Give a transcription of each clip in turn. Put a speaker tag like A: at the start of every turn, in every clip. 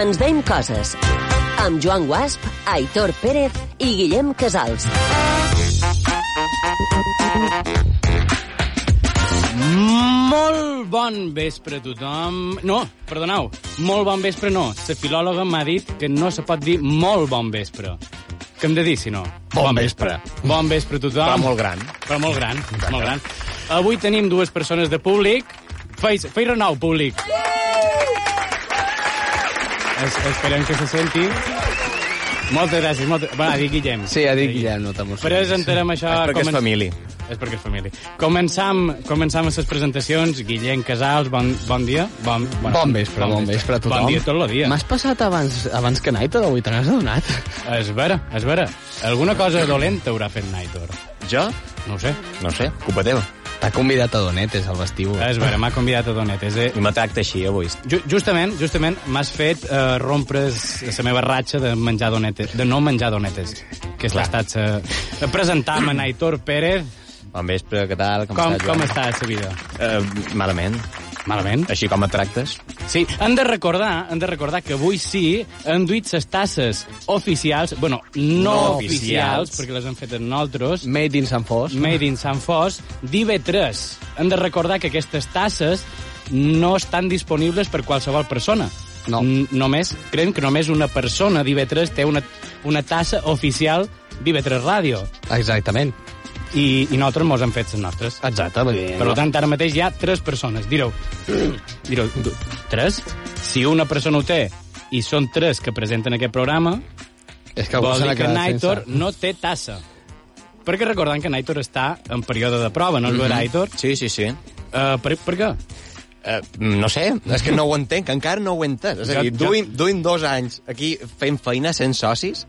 A: Ens veiem coses. Amb Joan Guasp, Aitor Pérez i Guillem Casals.
B: Molt bon vespre a tothom. No, perdoneu, molt bon vespre no. La filòloga m'ha dit que no se pot dir molt bon vespre. Què hem de dir, si no?
C: Bon vespre.
B: Bon vespre a tothom.
C: Però molt gran.
B: Però molt gran, molt gran. Avui tenim dues persones de públic. Feis, feis renou, públic. Es, esperem que se senti. Moltes gràcies. Moltes... Bé, a dir Guillem.
C: Sí, ha dit Guillem, no t'emocionis.
B: Presentarem això...
C: És perquè és
B: començ-
C: família.
B: És perquè és família. Començam, començam amb les presentacions. Guillem Casals, bon, bon dia. Bon, bueno,
C: Bon vespre, bon vespre a tothom.
B: Bon dia tot el dia.
D: M'has passat abans, abans que Naito d'avui, te n'has adonat?
B: És vera, és vera. Alguna cosa dolenta haurà fet Naitor.
C: Jo?
B: No ho sé.
C: No sé, culpa teva.
D: T'ha convidat a Donetes al vestíbul.
B: És vera, m'ha convidat a Donetes. Eh,
C: I me tracta així, avui.
B: Ju justament, justament, m'has fet eh, rompre la meva ratxa de menjar donetes, de no menjar donetes, que és l'estat... Eh, presentar-me a Naitor Pérez.
C: Bon vespre, què tal? Com,
B: Com,
C: estàs,
B: com
C: Joan?
B: està la vida?
C: Eh, malament.
B: Malament?
C: Així com et tractes?
B: Sí, hem de recordar, hem de recordar que avui sí hem duit les tasses oficials, bueno, no,
C: No
B: oficials,
C: oficials.
B: perquè les hem fet en nosaltres,
D: Made in Sant Fos.
B: Made in Sant Fos, d'IB3. Hem de recordar que aquestes tasses no estan disponibles per qualsevol persona.
D: No.
B: N- Només, creiem que només una persona d'IB3 té una, una tassa oficial d'IB3 Ràdio.
D: Exactament.
B: I, i nosaltres mos hem fet les nostres.
D: Exacte, vull dir...
B: Per tant, ara mateix hi ha tres persones. Direu, direu, du- tres? Si una persona ho té i són tres que presenten aquest programa,
D: és que algú
B: vol
D: se
B: dir
D: n'ha
B: que
D: quedat
B: Naitor
D: sense.
B: no té tassa. Perquè recordant que Naitor està en període de prova, no és
C: Mhm.
B: vera, Aitor?
C: Mm. Sí, sí, sí.
B: Uh, per, per què?
C: Eh, no sé, és que no ho entenc, encara no ho he entès. És a dir,
B: Jo- jo-
C: duim, duim dos anys aquí fent feina sense socis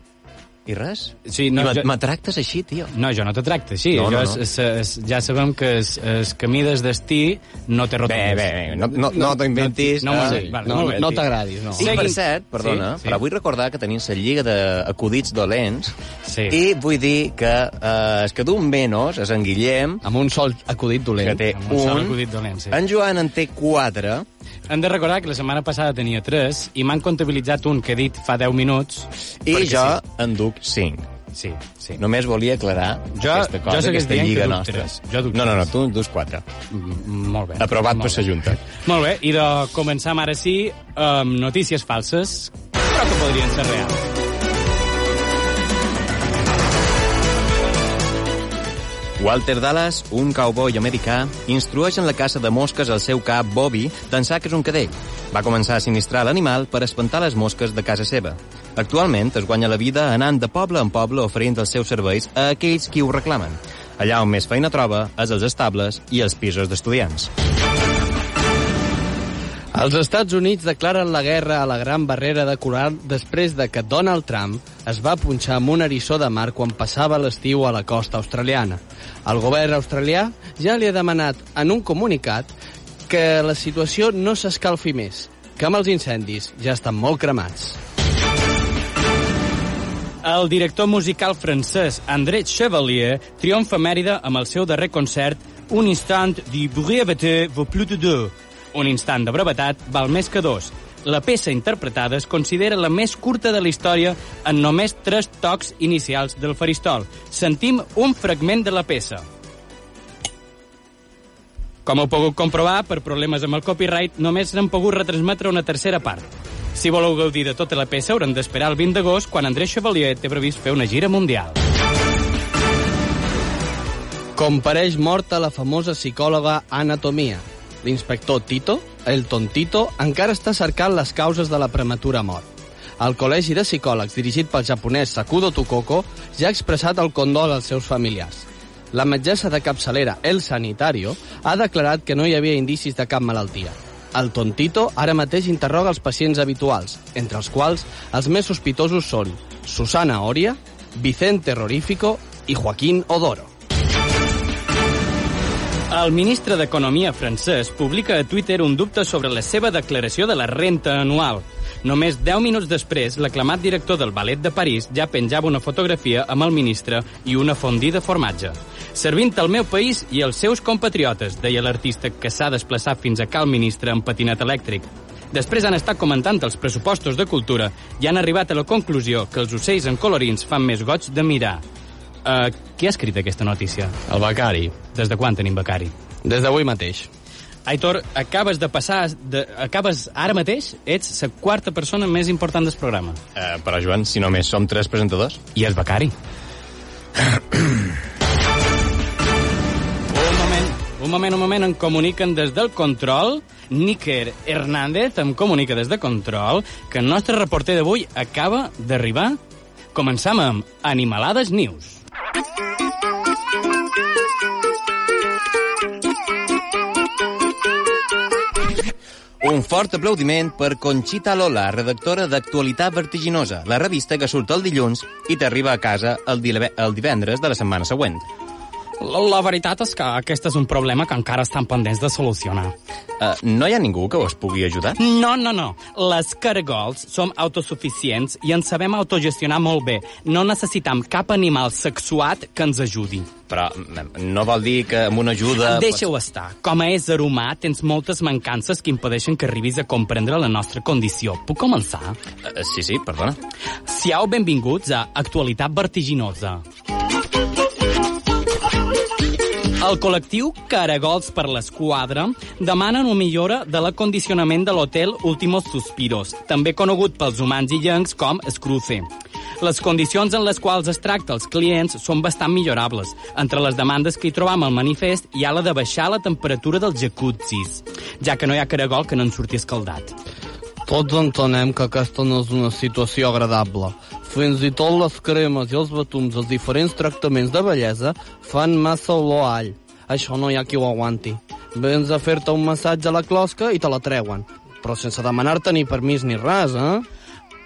C: i res.
B: Sí, no,
C: I me,
B: jo-
C: me tractes així, tio.
B: No, jo no te tracte així.
C: No,
B: No, no,
C: no, no.
B: És, és, és, ja sabem que es, es camí des destí no té
C: Bé,
B: rotondes.
C: bé, bé, no, no, no t'ho inventis.
B: no, no,
C: eh?
B: sí, vale,
D: no,
B: molt bé,
D: no
B: sí.
D: t'agradis, no.
C: I
B: Seguim.
C: per cert, perdona,
B: Sí,
C: sí,
B: sí.
C: sí. però vull recordar que tenim la lliga d'acudits dolents
B: Sí.
C: i vull dir que eh, és que d'un menos és en Guillem,
D: Amb un sol acudit dolent.
C: que té
B: Amb un sol
C: un,
B: acudit dolent, sí.
C: en Joan en té quatre,
B: Hem de recordar que la setmana passada tenia 3 i m'han comptabilitzat un que he dit fa 10 minuts.
C: i
B: perquè
C: jo en duc cinc.
B: Sí, sí. sí. No.
C: Només volia aclarar
B: Jo-
C: aquesta cosa,
B: jo segueix
C: aquesta
B: dient que
C: lliga
B: duc
C: nostra.
B: tres. Jo duc
C: no, no, no,
B: tres.
C: tu en ducs quatre.
B: Molt bé.
C: Aprovat per
B: molt
C: la
B: bé.
C: Junta.
B: Molt bé, i de començar ara sí amb notícies falses, però que podrien ser reals.
C: Walter Dallas, un cowboy americà, instrueix en la caça de mosques al seu cap Bobby d'ençà que és un cadell. Va començar a sinistrar l'animal per espantar les mosques de casa seva. Actualment es guanya la vida anant de poble en poble oferint els seus serveis a aquells qui ho reclamen. Allà on més feina troba és als estables i als pisos d'estudiants.
D: Els Estats Units declaren la guerra a la Gran Barrera de Coral després de que Donald Trump es va punxar amb un erissó de mar quan passava l'estiu a la costa australiana. El govern australià ja li ha demanat en un comunicat que la situació no s'escalfi més, que amb els incendis ja estan molt cremats.
B: El director musical francès André Chevalier triomfa a Mèrida amb el seu darrer concert Un instant du breveté vaut plus de deux. Un instant de brevetat val més que dos. La peça interpretada es considera la més curta de la història en només tres tocs inicials del faristol. Sentim un fragment de la peça. Com heu pogut comprovar, per problemes amb el copyright, només n'hem pogut retransmetre una tercera part. Si voleu gaudir de tota la peça, hauran d'esperar el 20 d'agost, quan André Chevalier té previst fer una gira mundial.
D: Compareix morta la famosa psicòloga Anatomia. L'inspector Tito, el tontito, encara està cercant les causes de la prematura mort. El Col·legi de Psicòlegs, dirigit pel japonès Sakudo Tokoko, ja ha expressat el condol als seus familiars. La metgessa de capçalera, El Sanitario, ha declarat que no hi havia indicis de cap malaltia. El tontito ara mateix interroga els pacients habituals, entre els quals els més sospitosos són Susana Oria, Vicente Rorífico i Joaquín Odoro.
B: El ministre d'Economia francès publica a Twitter un dubte sobre la seva declaració de la renta anual. Només 10 minuts després, l'aclamat director del Ballet de París ja penjava una fotografia amb el ministre i una fondí de formatge. Servint el meu país i els seus compatriotes, deia l'artista que s'ha desplaçat fins a Cal Ministre en patinet elèctric. Després han estat comentant els pressupostos de cultura i han arribat a la conclusió que els ocells en colorins fan més goig de mirar. Uh, qui ha escrit aquesta notícia?
D: El becari.
B: Des de quan tenim becari?
D: Des d'avui mateix.
B: Aitor, acabes de passar... De, acabes ara mateix, ets la quarta persona més important del programa.
C: Eh, però, Joan, si només som tres presentadors...
B: I el becari. un moment, un moment, un moment, em comuniquen des del control. Níker Hernández em comunica des de control que el nostre reporter d'avui acaba d'arribar. Començam amb Animalades News.
C: Un fort aplaudiment per Conchita Lola, redactora d'Actualitat Vertiginosa, la revista que surt el dilluns i t'arriba a casa el, dile- el divendres de la setmana següent.
B: La, la veritat és que aquest és un problema que encara estan pendents de solucionar.
C: Uh, no hi ha ningú que us pugui ajudar?
B: No, no, no. Les caragols som autosuficients i ens sabem autogestionar molt bé. No necessitam cap animal sexuat que ens ajudi.
C: Però mm, no vol dir que amb una ajuda...
B: Deixa-ho estar. Com a ésser humà tens moltes mancances que impedeixen que arribis a comprendre la nostra condició. Puc començar?
C: Eh, sí, sí, perdona.
B: Siau benvinguts a Actualitat Vertiginosa. El col·lectiu Caragols per l'Esquadra demanen una millora de l'acondicionament de l'hotel Últimos Suspiros, també conegut pels humans i llencs com Scrufe. Les condicions en les quals es tracta els clients són bastant millorables. Entre les demandes que hi trobam al manifest hi ha la de baixar la temperatura dels jacuzzis, ja que no hi ha caragol que no en surti escaldat.
D: Tots entenem que aquesta no és una situació agradable. Fins i tot les cremes i els batums dels diferents tractaments de bellesa fan massa olor a all. Això no hi ha qui ho aguanti. Vens a fer-te un massatge a la closca i te la treuen. Però sense demanar-te ni permís ni res, eh?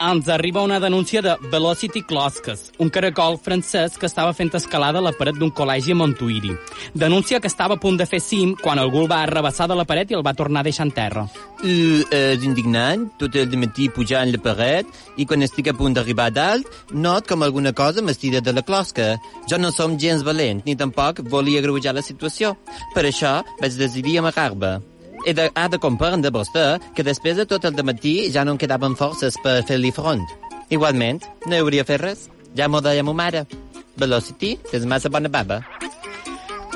B: ens arriba una denúncia de Velocity Closques, un caracol francès que estava fent escalada a la paret d'un col·legi a Montuïri. Denúncia que estava a punt de fer cim quan algú el va arrabassar de la paret i el va tornar a deixar en terra.
C: Uh, és indignant, tot el matí pujant la paret, i quan estic a punt d'arribar a dalt, not com alguna cosa m'estira de la closca. Jo no som gens valent, ni tampoc volia agreujar la situació. Per això vaig decidir amagar-me. He de, ha de comprendre vostè que després de tot el matí ja no em quedaven forces per fer-li front. Igualment, no hi hauria fet res. Ja m'ho deia ma mare. Velocity és massa bona baba.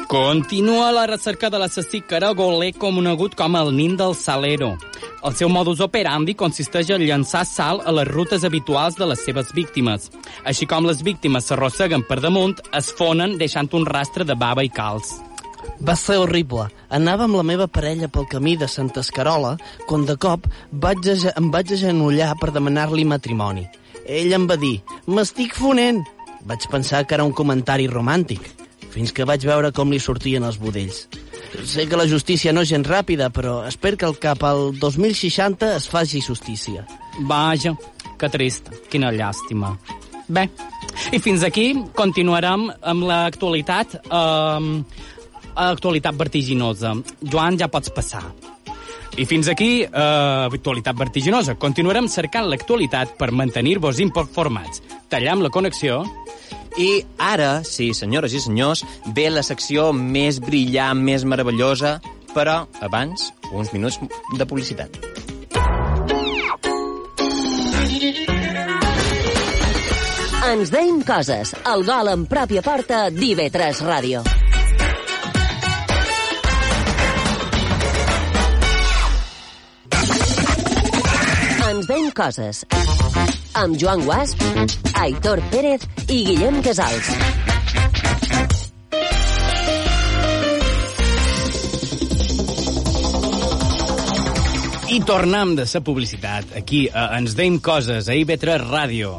B: Continua la recerca de l'assassí caragoler conegut com el nin del salero. El seu modus operandi consisteix en llançar sal a les rutes habituals de les seves víctimes. Així com les víctimes s'arrosseguen per damunt, es fonen deixant un rastre de bava i calç.
E: Va ser horrible. Anava amb la meva parella pel camí de Santa Escarola quan de cop vaig aja- em vaig agenollar per demanar-li matrimoni. Ell em va dir, m'estic fonent. Vaig pensar que era un comentari romàntic, fins que vaig veure com li sortien els budells. Sé que la justícia no és gens ràpida, però espero que el cap al 2060 es faci justícia.
B: Vaja, que trist, quina llàstima. Bé, i fins aquí continuarem amb l'actualitat, eh, actualitat vertiginosa. Joan, ja pots passar. I fins aquí, eh, actualitat vertiginosa. Continuarem cercant l'actualitat per mantenir-vos informats. Tallam la connexió.
C: I ara, sí, senyores i senyors, ve la secció més brillant, més meravellosa, però abans, uns minuts de publicitat.
A: Ens deim coses. El gol en pròpia porta d'IV3 Ràdio. Ens deim coses. Amb Joan Guasp, Aitor Pérez i Guillem Casals.
B: I tornem de sa publicitat. Aquí a Ens deim coses, a IB3 Ràdio.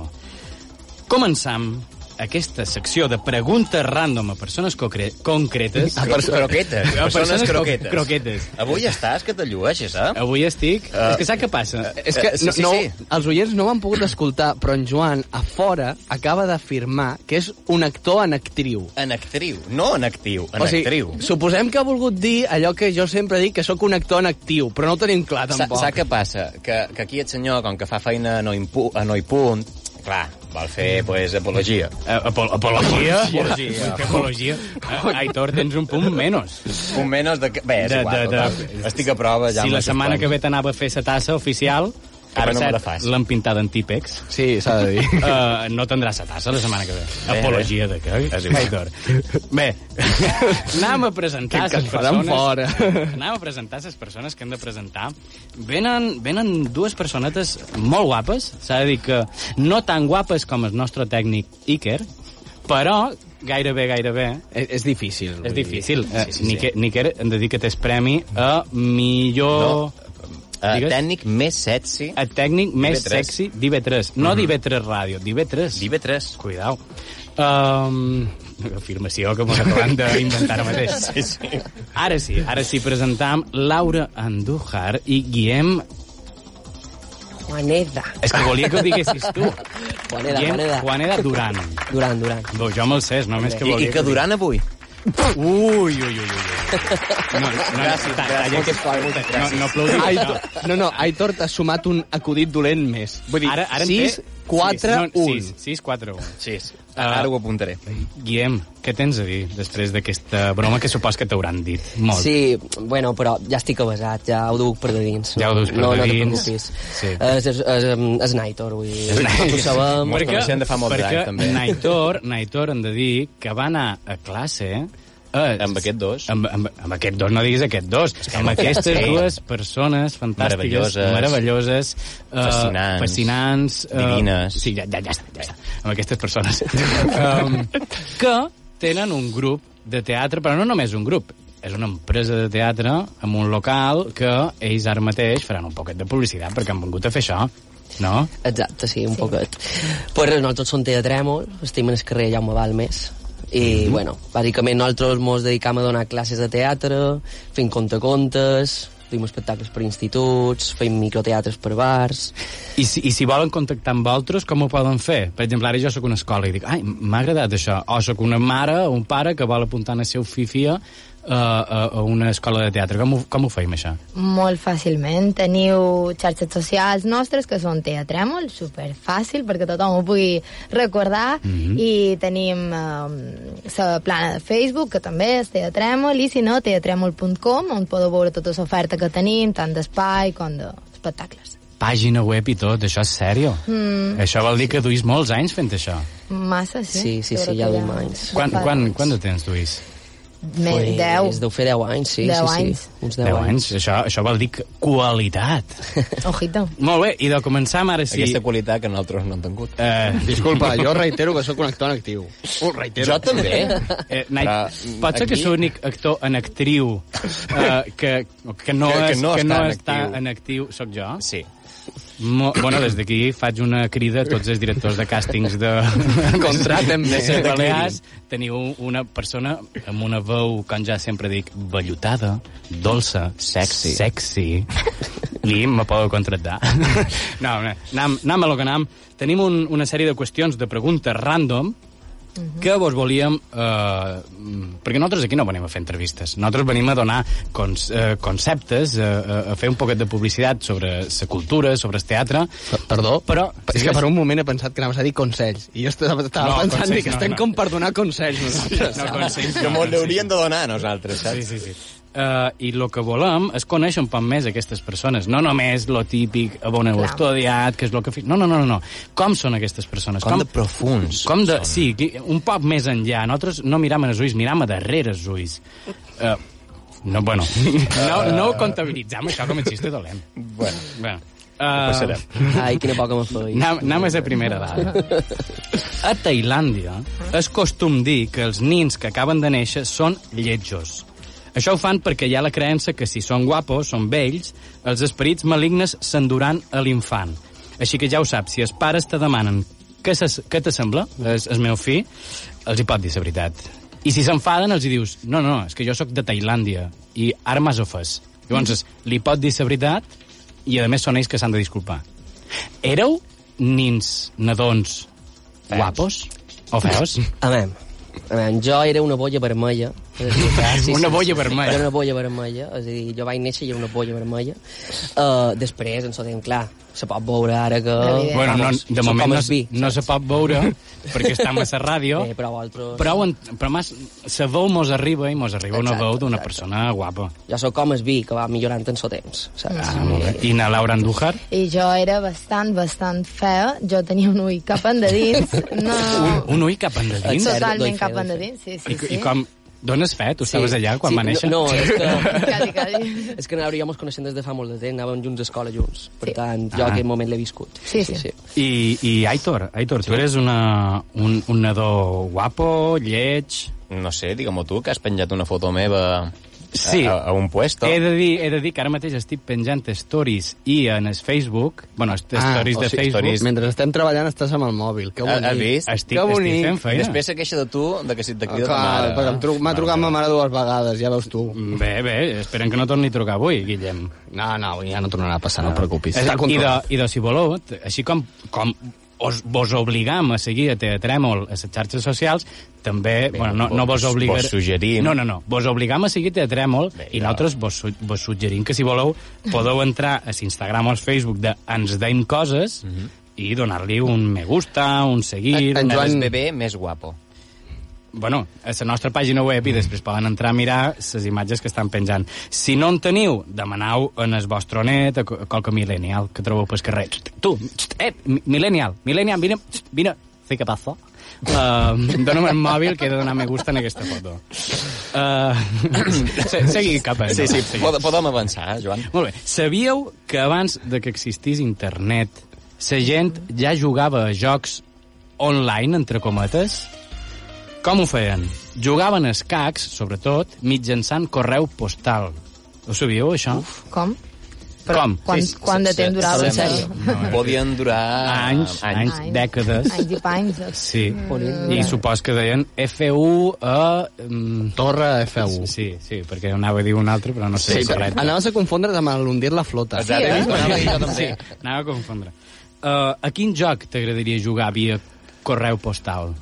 B: Començam aquesta secció de preguntes random a persones cocre- concretes.
C: A pers Ah, croquetes.
B: A
C: A persones
B: persones
C: croquetes.
B: cro- croquetes.
C: Avui estàs que te llueixes, eh?
B: Avui estic... Uh, és que saps què passa? Uh,
D: És que
C: Eh, sí,
D: no,
C: sí,
D: no,
C: sí.
D: els oients no ho han pogut escoltar, però en Joan, a fora, acaba d'afirmar que és un actor en actriu.
C: En actriu. No en actiu, en
D: o sigui,
C: actriu.
D: suposem que ha volgut dir allò que jo sempre dic, que sóc un actor en actiu, però no ho tenim clar,
C: Sa-
D: tampoc.
C: Saps què passa? Que, que aquí el senyor, com que fa feina a no, impu, a no i punt, clar, Val fer,
B: Mm.
C: pues, apologia.
B: Eh, Apol apologia? Apologia. apologia. Eh, Aitor, tens un punt menys.
C: Un menys de... que- Bé, és
B: De-
C: igual.
B: de- de-
C: total. Estic a prova ja.
B: si
C: amb
B: la
C: això
B: setmana
C: estem.
B: que ve t'anava a fer sa tassa oficial,
C: Que
B: ara
C: no me la
B: cert,
C: fas.
B: l'han pintada en típex,
D: Sí, s'ha de dir.
B: uh, no tindrà sa tassa la setmana que ve.
C: Bé,
B: Apologia de què?
C: És igual.
B: Aitor. Bé, anem a presentar
D: Que- que
B: ses
D: et faran
B: persones...
D: fora.
B: Anem a presentar ses persones que hem de presentar. Venen, venen dues personetes molt guapes, s'ha de dir que no tan guapes com el nostre tècnic Iker, però gairebé, gairebé,
D: E, És, és difícil. vull
B: és
D: dir. Eh,
B: difícil. Sí, sí, sí. Niquer, hem de dir que t'és premi a millor... No.
C: Eh,
B: Digues.
C: tècnic més sexy.
B: A tècnic més
C: DB3.
B: sexy d'IV3. No
D: Mm-hmm.
B: d'IV3 Ràdio, d'IV3.
C: DB3.
B: Cuidao. Um, afirmació que m'ho acabem d'inventar ara mateix. Sí, sí. Ara sí, ara sí, presentam Laura Andújar i Guillem...
A: Juaneda.
B: És que volia que ho diguessis tu.
A: Juaneda,
B: Guillem
A: Juaneda.
B: Juaneda Duran.
A: Durant, durant.
B: Bé, jo me'l sé, només que
C: I,
B: volia
C: I que durant avui.
B: Ui, ui, ui, ui. No, no, gràcies, gràcies. No, no aplaudim.
D: Aitor, no, no, Aitor t'ha sumat un acudit dolent més. Vull dir,
B: Ara, ara en
D: 6,
B: té...
D: 4, 1.
B: 6, 6, 4, 1.
C: Sí, sí.
B: Ah,
C: Ara ho apuntaré.
B: Guillem, què tens a dir després d'aquesta broma que supos que t'hauran dit? Molt.
A: Sí, bueno, però ja estic avasat, ja ho duc per de dins.
B: Ja ho duc per
A: no,
B: de
A: no
B: dins.
A: No te preocupis.
B: Sí.
A: És, és, és, em, és Naitor, vull dir. Tots ho sabem.
C: Molt coneixem de fa molts
B: perquè
C: anys, també.
B: Naitor, Naitor, hem de dir que va anar a classe eh,
C: Amb aquest dos.
B: Amb, amb, amb aquest dos, no diguis aquest dos. Amb aquestes
C: sí.
B: dues persones fantàstiques,
C: Meravelloses.
B: meravelloses, eh,
C: Fascinants.
B: fascinants eh,
C: Divines.
B: Sí, ja, ja, ja està, ja està. Amb aquestes persones. um, que tenen un grup de teatre, però no només un grup, és una empresa de teatre amb un local que ells ara mateix faran un poquet de publicitat perquè han vingut a fer això, no?
A: Exacte, sí, un sí. poquet. Pues res, nosaltres som teatrèmol, estem en el carrer Jaume Balmes,
B: Mhm.
A: i, mm -hmm. bueno, bàsicament nosaltres ens dedicam a donar classes de teatre, fent contacontes, fem espectacles per instituts, fem microteatres per bars...
B: I si, I si volen contactar amb altres, com ho poden fer? Per exemple, ara jo sóc una escola i dic, ai, m'ha agradat això. O sóc una mare o un pare que vol apuntar en el seu fill fia a, a, a una escola de teatre. Com ho, com ho feim, això?
F: Molt fàcilment. Teniu xarxes socials nostres, que són Teatrèmol, superfàcil, perquè tothom ho pugui recordar, i tenim eh, la plana de Facebook, que també és Teatrèmol, i si no, teatrèmol.com, on podeu veure tota l'oferta que tenim, tant d'espai com d'espectacles.
B: Pàgina web i tot, això és sèrio. Mm. Això vol dir que duis molts anys fent això.
F: Massa, sí?
A: Sí,
F: Jo
A: sí, sí,
F: crec
A: ja
F: que
A: duim anys.
B: Quan,
F: fa
B: quan,
F: anys.
B: quan de temps duis?
F: Més,
A: Pues,
F: deu.
A: Deu fer 10 anys, sí,
F: Deu
A: sí, sí.
F: anys.
A: Uns 10,
B: Deu anys. Això, això vol dir que qualitat.
F: Ojito.
B: Molt bé, i de començar ara
C: Sí.
B: sí...
C: Aquesta qualitat que nosaltres no hem tingut.
B: Eh,
D: Disculpa, jo reitero que sóc un actor en actiu.
B: Uh,
D: Ho reitero.
C: Jo també.
B: Eh, Nike,
C: Però, mm,
B: pot ser que
C: aquí-
B: és l'únic actor en actriu eh, que, que, no,
C: Que- que
B: és,
C: no
B: que no
C: està en
B: està
C: actiu.
B: en actiu. Soc jo?
C: Sí.
B: Mo, bueno, des d'aquí faig una crida a tots els directors de càstings de...
D: Contratem-me.
B: De Ser Balears. Teniu una persona amb una veu, com ja sempre dic, vellutada, dolça,
C: Sexy.
B: sexy. I me podeu contractar. No, no, anam, anam a lo que anam. Tenim un, una sèrie de qüestions, de preguntes random, que vos volíem... Eh, mm, perquè nosaltres aquí no venim a fer entrevistes. Nosaltres venim a donar cons, eh, conceptes, eh, a, a fer un poquet de publicitat sobre la cultura, sobre el teatre...
D: Perdó,
B: Però-
D: és que per un moment he pensat que anaves a dir consells. I jo estava
B: No,
D: estava pensant
B: consells
D: que
B: no,
D: estem
B: no.
D: com per donar consells nosaltres.
B: No, consells,
C: Que
B: no,
C: mos
B: no,
C: l'haurien de donar a nosaltres,
B: Sí,
C: saps?
B: sí, sí. Uh, I el que volem és conèixer un poc més aquestes persones. No només lo típic, a on heu
F: Clar.
B: estudiat, que és lo que... fi- No, no, no, no, no. Com són aquestes persones?
C: Com de profuns
B: Com de... Sí, qui- un poc més enllà. Nosaltres no miram en els ulls, miram a darrere els ulls. Uh, no, bueno, no, no ho comptabilitzam, això com a xiste dolent.
C: Eh. Bueno,
B: Bueno,
C: ho
B: uh,
C: passarem.
A: Ai, quina poca me feia.
B: Anem, anem a la primera dada. A Tailàndia és costum dir que els nins que acaben de néixer són lletjos. Això ho fan perquè hi ha la creença que si són guapos, són vells, els esperits malignes s'enduran a l'infant. Així que ja ho saps, si els pares te demanen què, se, què t'assembla, és el meu fill, els hi pot dir la veritat. I si s'enfaden, els hi dius, no, no, és que jo sóc de Tailàndia i ara m'has ofès. Llavors, li pot dir la veritat i, a més, són ells que s'han de disculpar. Éreu nins, nadons, guapos o feos?
A: A veure, a veure, jo era una boia vermella És a dir, clar,
B: Una boia vermella.
A: Era una boia vermella, és a dir, jo vaig néixer i era una boia vermella. Uh, després ens ho dèiem, clar, se pot veure ara que...
F: Evident.
B: Bueno, no,
A: Vamos,
B: de
A: som
B: moment
A: com
B: no,
A: el vi,
B: no se pot veure perquè està massa ràdio,
A: Bé, però vosaltres...
B: però, en, però mas, se veu mos arriba i mos arriba una
A: Exacte,
B: veu d'una
A: exacte.
B: persona guapa.
A: Jo sóc com el vi, que va millorant en el temps, saps?
B: Ah, molt bé. I na Laura Andújar?
F: I jo era bastant, bastant fea. Jo tenia un ull cap endins. No,
B: Un, un ull cap endins?
A: Exacte.
F: totalment
A: doy fe,
F: cap
A: doy fe.
F: endins, sí, sí,
B: I,
F: sí.
B: I com... Dones fe? Tu estaves allà quan
A: sí,
B: va néixer?
A: No, no és
F: Quasi,
A: que...
F: quasi.
A: és que Laura i jo ens coneixem des de fa molt de temps, anàvem junts a escola junts. Per tant, jo
B: Ah.
A: aquest moment l'he viscut.
F: Sí, sí.
B: I, i Aitor, Aitor, tu eres una, un, un nadó guapo, lleig...
C: No sé, digue-m'ho tu, que has penjat una foto meva
B: Sí.
C: a, a, a un puesto.
B: He de, dir, he de dir que ara mateix estic penjant stories i en el Facebook, bueno, est- stories
D: Ah, o
B: de
D: sigui,
B: Facebook, Ah,
C: stories.
D: Mentre estem treballant estàs amb el mòbil, que bonic.
C: Has vist?
B: estic,
D: Que
B: estic
D: bonic.
B: fent feina.
C: Després se queixa de tu, de que si et
D: Ah,
C: crida
D: clar,
C: ta mare.
D: perquè em tru- m'ha
B: Ah,
D: trucat ma mare dues vegades, ja veus tu.
B: Bé, bé, esperem que no torni a trucar avui, Guillem.
D: No, no, ja no tornarà a passar, no et preocupis.
B: És- I
D: Està
B: de,
D: controlat.
B: I de si voleu, t- així com, com os, vos obligam a seguir a Teatrèmol a les xarxes socials, també, Bé, bueno, no, no vos
C: vos-
B: obligar...
C: vos suggerim.
B: No, no, no, vos obligam a seguir Teatrèmol i nosaltres vos, su- vos suggerim que si voleu podeu entrar a l'Instagram o al Facebook de Ens Deim Coses i donar-li un me gusta, un seguir...
D: En
B: una-
D: Joan-
C: El bebè més guapo.
B: bueno, a la nostra pàgina web i després poden entrar a mirar les imatges que estan penjant. Si no en teniu, demanau en el vostre net a co- a qualque millennial que trobeu pel carrer. Txt, Tu, txt, eh, mi- millennial, millennial, vine, txt, vine. Sí, què passa? Uh, Dóna'm el mòbil que he de donar me gusta en aquesta foto. Uh, se, segui cap a...
C: Sí, sí, pod podem avançar, Joan.
B: Molt bé. Sabíeu que abans de que existís internet, la gent ja jugava a jocs online, entre cometes? Com ho feien? Jugaven a escacs, sobretot, mitjançant correu postal. Ho sabíeu, això? Uf.
F: Com?
B: Com?
F: Quan,
C: Sí, sí,
F: quant de
C: sí,
F: temps
C: sí,
F: durava
C: sí,
F: això?
C: sí. Podien durar...
B: Anys, anys, anys, dècades.
F: Anys i panys. doncs.
B: Sí. I supos que deien F1 a... mm,
D: Torre F1.
B: Sí, sí, perquè anava a dir un altre, però no sé
D: Sí,
B: si
D: però
B: correcte.
D: anaves a confondre's amb l'hundir la flota.
C: Sí, eh?
B: Sí, anava a confondre. Uh, a quin joc t'agradaria jugar via correu postal?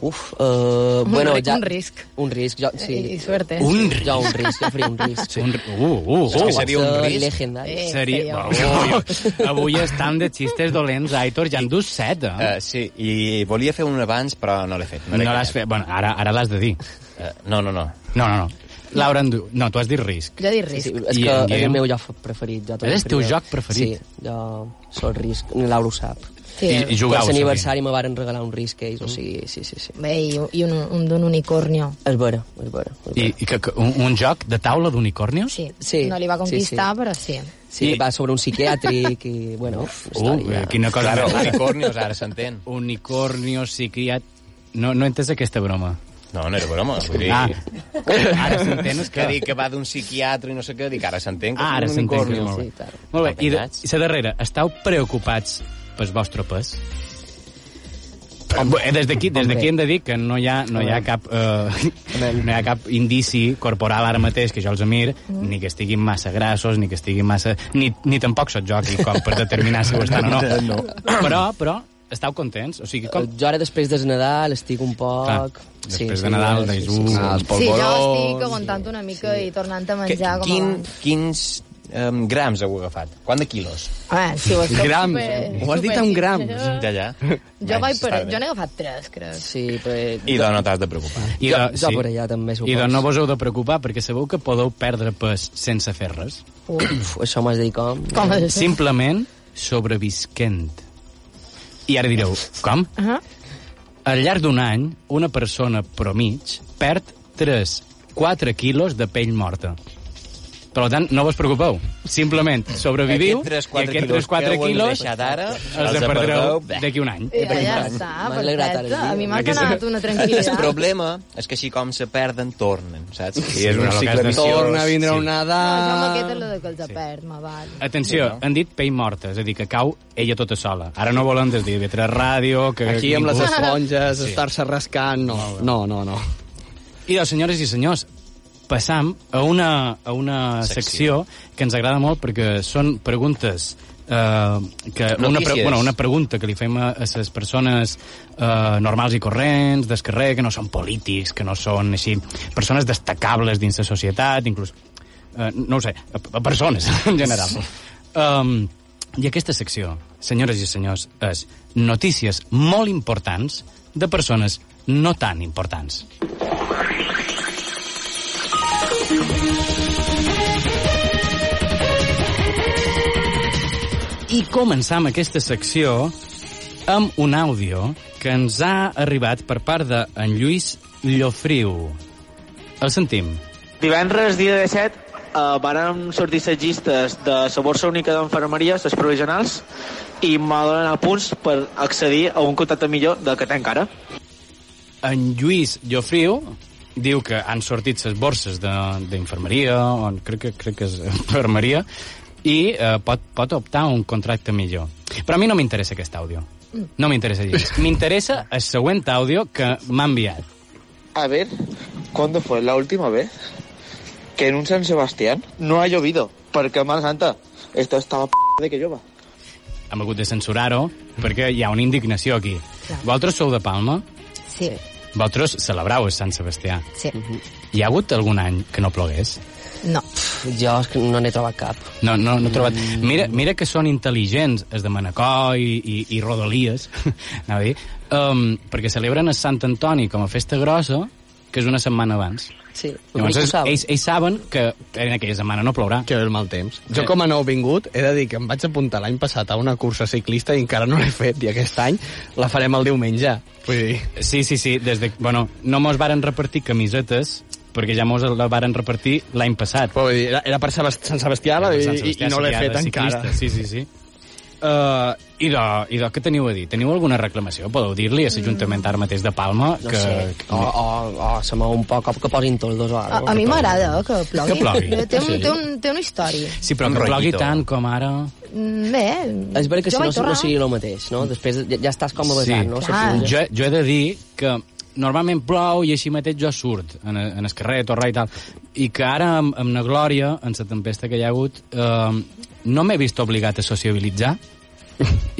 A: Uf, uh, bueno,
F: ri-
A: ja...
F: un risc.
A: Un risc, jo, sí.
F: I suerte.
B: Un
A: Jo un risc, jo faria un risc.
B: Sí. Un... Uh, uh, uh.
C: que seria un
A: Ser
C: risc.
A: Legendari.
F: Eh,
B: Seria...
F: seria-
B: Oh, avui estan de xistes dolents, Aitor, ja en dus set, eh?
C: Uh, sí, i volia fer un abans, però no l'he fet.
B: No
C: l'he
B: l'has fet... Bueno, ara, ara l'has de dir.
C: Eh, no, no, no.
B: No, no, no. Laura, en du... no, tu has dit risc.
F: Jo dic
A: Sí, sí,
F: risc.
A: és
B: I
A: que
B: en
A: és
B: Guillem?
A: el meu joc preferit. Jo també
B: És el teu
A: faria-
B: joc preferit?
A: Sí, jo sóc risc, ni Laura ho sap.
F: Sí. eh?
B: I, i
A: Per
B: jugau,
A: l'aniversari me varen regalar un risc ells, o
B: Mm.
A: sigui, sí, sí, sí.
F: Bé, i, i un, un d'un unicornio.
A: És vera, és vera. És vera.
B: I, i que, que, un, un joc de taula d'unicornios?
F: Sí.
A: Sí,
F: No li va
A: sí,
F: conquistar,
A: sí.
F: però sí.
A: Sí,
B: I-
A: va sobre un psiquiàtric i, bueno,
B: Uh,
A: història.
B: quina cosa...
C: Claro,
B: més rara.
C: unicornios, ara s'entén.
B: Unicornios, psiquiat... No, no he entès aquesta broma.
C: No, no era broma. Vull dir...
B: Ah, ara s'entén és
C: que dic que va d'un psiquiatre i no sé què, dic, ara s'entén que
B: Ah, ara
C: és un
B: s'entén que
C: unicornio.
B: molt
A: sí,
B: bé.
A: tal.
B: Molt bé, i de,
C: Apanyats.
B: i la darrera, esteu preocupats pel vostre pes? Eh, Des d'aquí des d'aquí hem de dir que no hi ha, no hi ha, cap, eh, no hi ha cap indici corporal ara mateix que jo els amir, ni que estiguin massa grassos, ni que estiguin massa... Ni, ni tampoc sóc jo aquí com per determinar si ho estan o no. Però, però, esteu contents? O sigui, com...
A: Jo ara després de Nadal estic un poc...
B: Clar, després de Nadal, deis, uh, els
F: Sí, jo
D: polvorons,
F: estic aguantant una mica i tornant a
C: Que,
F: menjar com
C: quin,
F: abans.
C: quins um, grams heu agafat? Quant de quilos?
F: Ah, si ho has fet
D: Grams, eh? Ho has dit en grams.
F: sincera.
C: Ja, ja.
F: Jo,
C: Vaig,
F: vaig per,
C: està bé.
F: jo n'he agafat tres, crec.
A: Sí, però...
C: I doncs no t'has de preocupar.
B: I
F: Ah.
A: Jo- jo per allà també,
B: I
A: supos.
B: doncs no vos heu de preocupar, perquè sabeu que podeu perdre pes sense fer res.
A: Uf, això m'has de dir com?
F: Com és això?
B: Simplement sobrevisquent. I ara direu, com?
F: Uh -huh.
B: Al llarg d'un any, una persona promig perd 3-4 quilos de pell morta. Per tant, no vos preocupeu. Simplement sobreviviu
C: Aquests
B: i
C: 3-4
B: aquests
C: quilos
B: 3-4
C: que heu
B: quilos
C: deixat ara,
B: els
C: els
B: de perdreu
C: perdeu. Bé.
B: d'aquí un any.
F: Ja, ja
A: M'ha
F: està,
A: alegrat ara el
F: perfecte.
A: dia.
F: A mi m'ha
B: Aquesta-
F: donat una
C: El
F: tranquil·litat.
C: problema és que així com se perden, tornen, saps? I és
B: però el
C: un
B: que has
C: cicle
B: de-
C: viciós.
D: Torna, vindrà
B: Sí.
D: un
F: No, jo amb
D: Nadal...
F: aquest és lo de que els apert, me val.
B: Atenció, han dit pell morta, és a dir, que cau ella tota sola. Ara no volen des de TV3 Ràdio... Que
D: Aquí amb les
B: ningú-
D: esponges, estar-se rascant... No, no, no. no.
B: I doncs, senyores i senyors, passam a una, a una secció. secció que ens agrada molt perquè són preguntes Uh, que una, pre
C: Notícies.
B: bueno, una pregunta que li fem a les persones uh, normals i corrents, del carrer, que no són polítics, que no són així, persones destacables dins la societat, inclús, uh, no ho sé, a, a persones en general. Um, I aquesta secció, senyores i senyors, és notícies molt importants de persones no tan importants. I començam aquesta secció amb un àudio que ens ha arribat per part de en Lluís Llofriu. El sentim.
G: Divendres, dia 17, eh, varen sortir setgistes de la borsa única d'enfermeria, les provisionals, i me donen punts per accedir a un contacte millor del que tenc ara.
B: En Lluís Llofriu diu que han sortit les borses de- d'infermeria, o crec que, crec que és enfermeria, i eh, pot, pot optar a un contracte millor. Però a mi no m'interessa aquest àudio. No m'interessa gens. M'interessa el següent àudio que m'ha enviat.
G: A ver, ¿cuándo fue la última vez que en un San Sebastián no ha llovido? Porque, mal santa, esto estaba p*** de que llueva.
B: hem hagut de censurar-ho perquè hi ha una indignació aquí. Vosaltres sou de Palma,
F: Sí,
B: vosaltres celebrau el Sant Sebastià.
F: sí.
B: Hi ha hagut algun any que no plogués?
F: No.
A: Jo és que no n'he trobat cap.
B: No, no, no he trobat...
A: Mm.
B: Mira, mira que són intel·ligents, els de Manacor i, i, i Rodalies, anava a dir, um, perquè celebren el Sant Antoni com a festa grossa, que és una setmana abans.
A: Sí,
B: Llavors,
A: ho
B: ells,
A: saben.
B: ells, ells saben que en aquella setmana no plourà.
D: Que ve el mal temps.
B: Eh.
D: Jo, com a nou vingut, he de dir que em vaig apuntar l'any passat a una cursa ciclista i encara no l'he fet, i aquest any la farem el diumenge. Vull dir...
B: Sí, sí, sí, des de... Bueno, no mos varen repartir camisetes, perquè ja mos la varen repartir l'any passat.
D: Però vull dir, era, era per Sebast Sant Sebastià,
B: Era per
D: i,
B: Sant
D: i,
B: Sebastià,
D: i no l'he
B: sí,
D: fet
B: ara,
D: encara.
B: ciclista, Sí, sí, sí. Uh, idò, idò, què teniu a dir? Teniu alguna reclamació? Podeu dir-li a l'Ajuntament ara mateix de Palma
A: No
B: que,
A: sé. O, o, o se mou un poc, o que posin toldos o
F: A,
B: Ah,
A: alguna
F: a mi m'agrada eh, que plogui.
B: Que plogui.
F: Té, un, té, un, té una història.
B: Sí, però
C: Un
B: que plogui
C: rotllito.
B: tant com ara...
F: Mm, Bé,
A: Ah, És veritat que
F: jo
A: si no,
F: vaig tornar...
A: no sigui el mateix, no? Després ja, ja estàs com a
B: Sí.
A: besant, no?
F: Clar.
A: Saps?
B: Jo, jo he de dir que normalment plou i així mateix jo surt en, en el carrer, a Torre i tal. I que ara, amb, amb la glòria, en la tempesta que hi ha hagut, eh, no m'he vist obligat a sociabilitzar.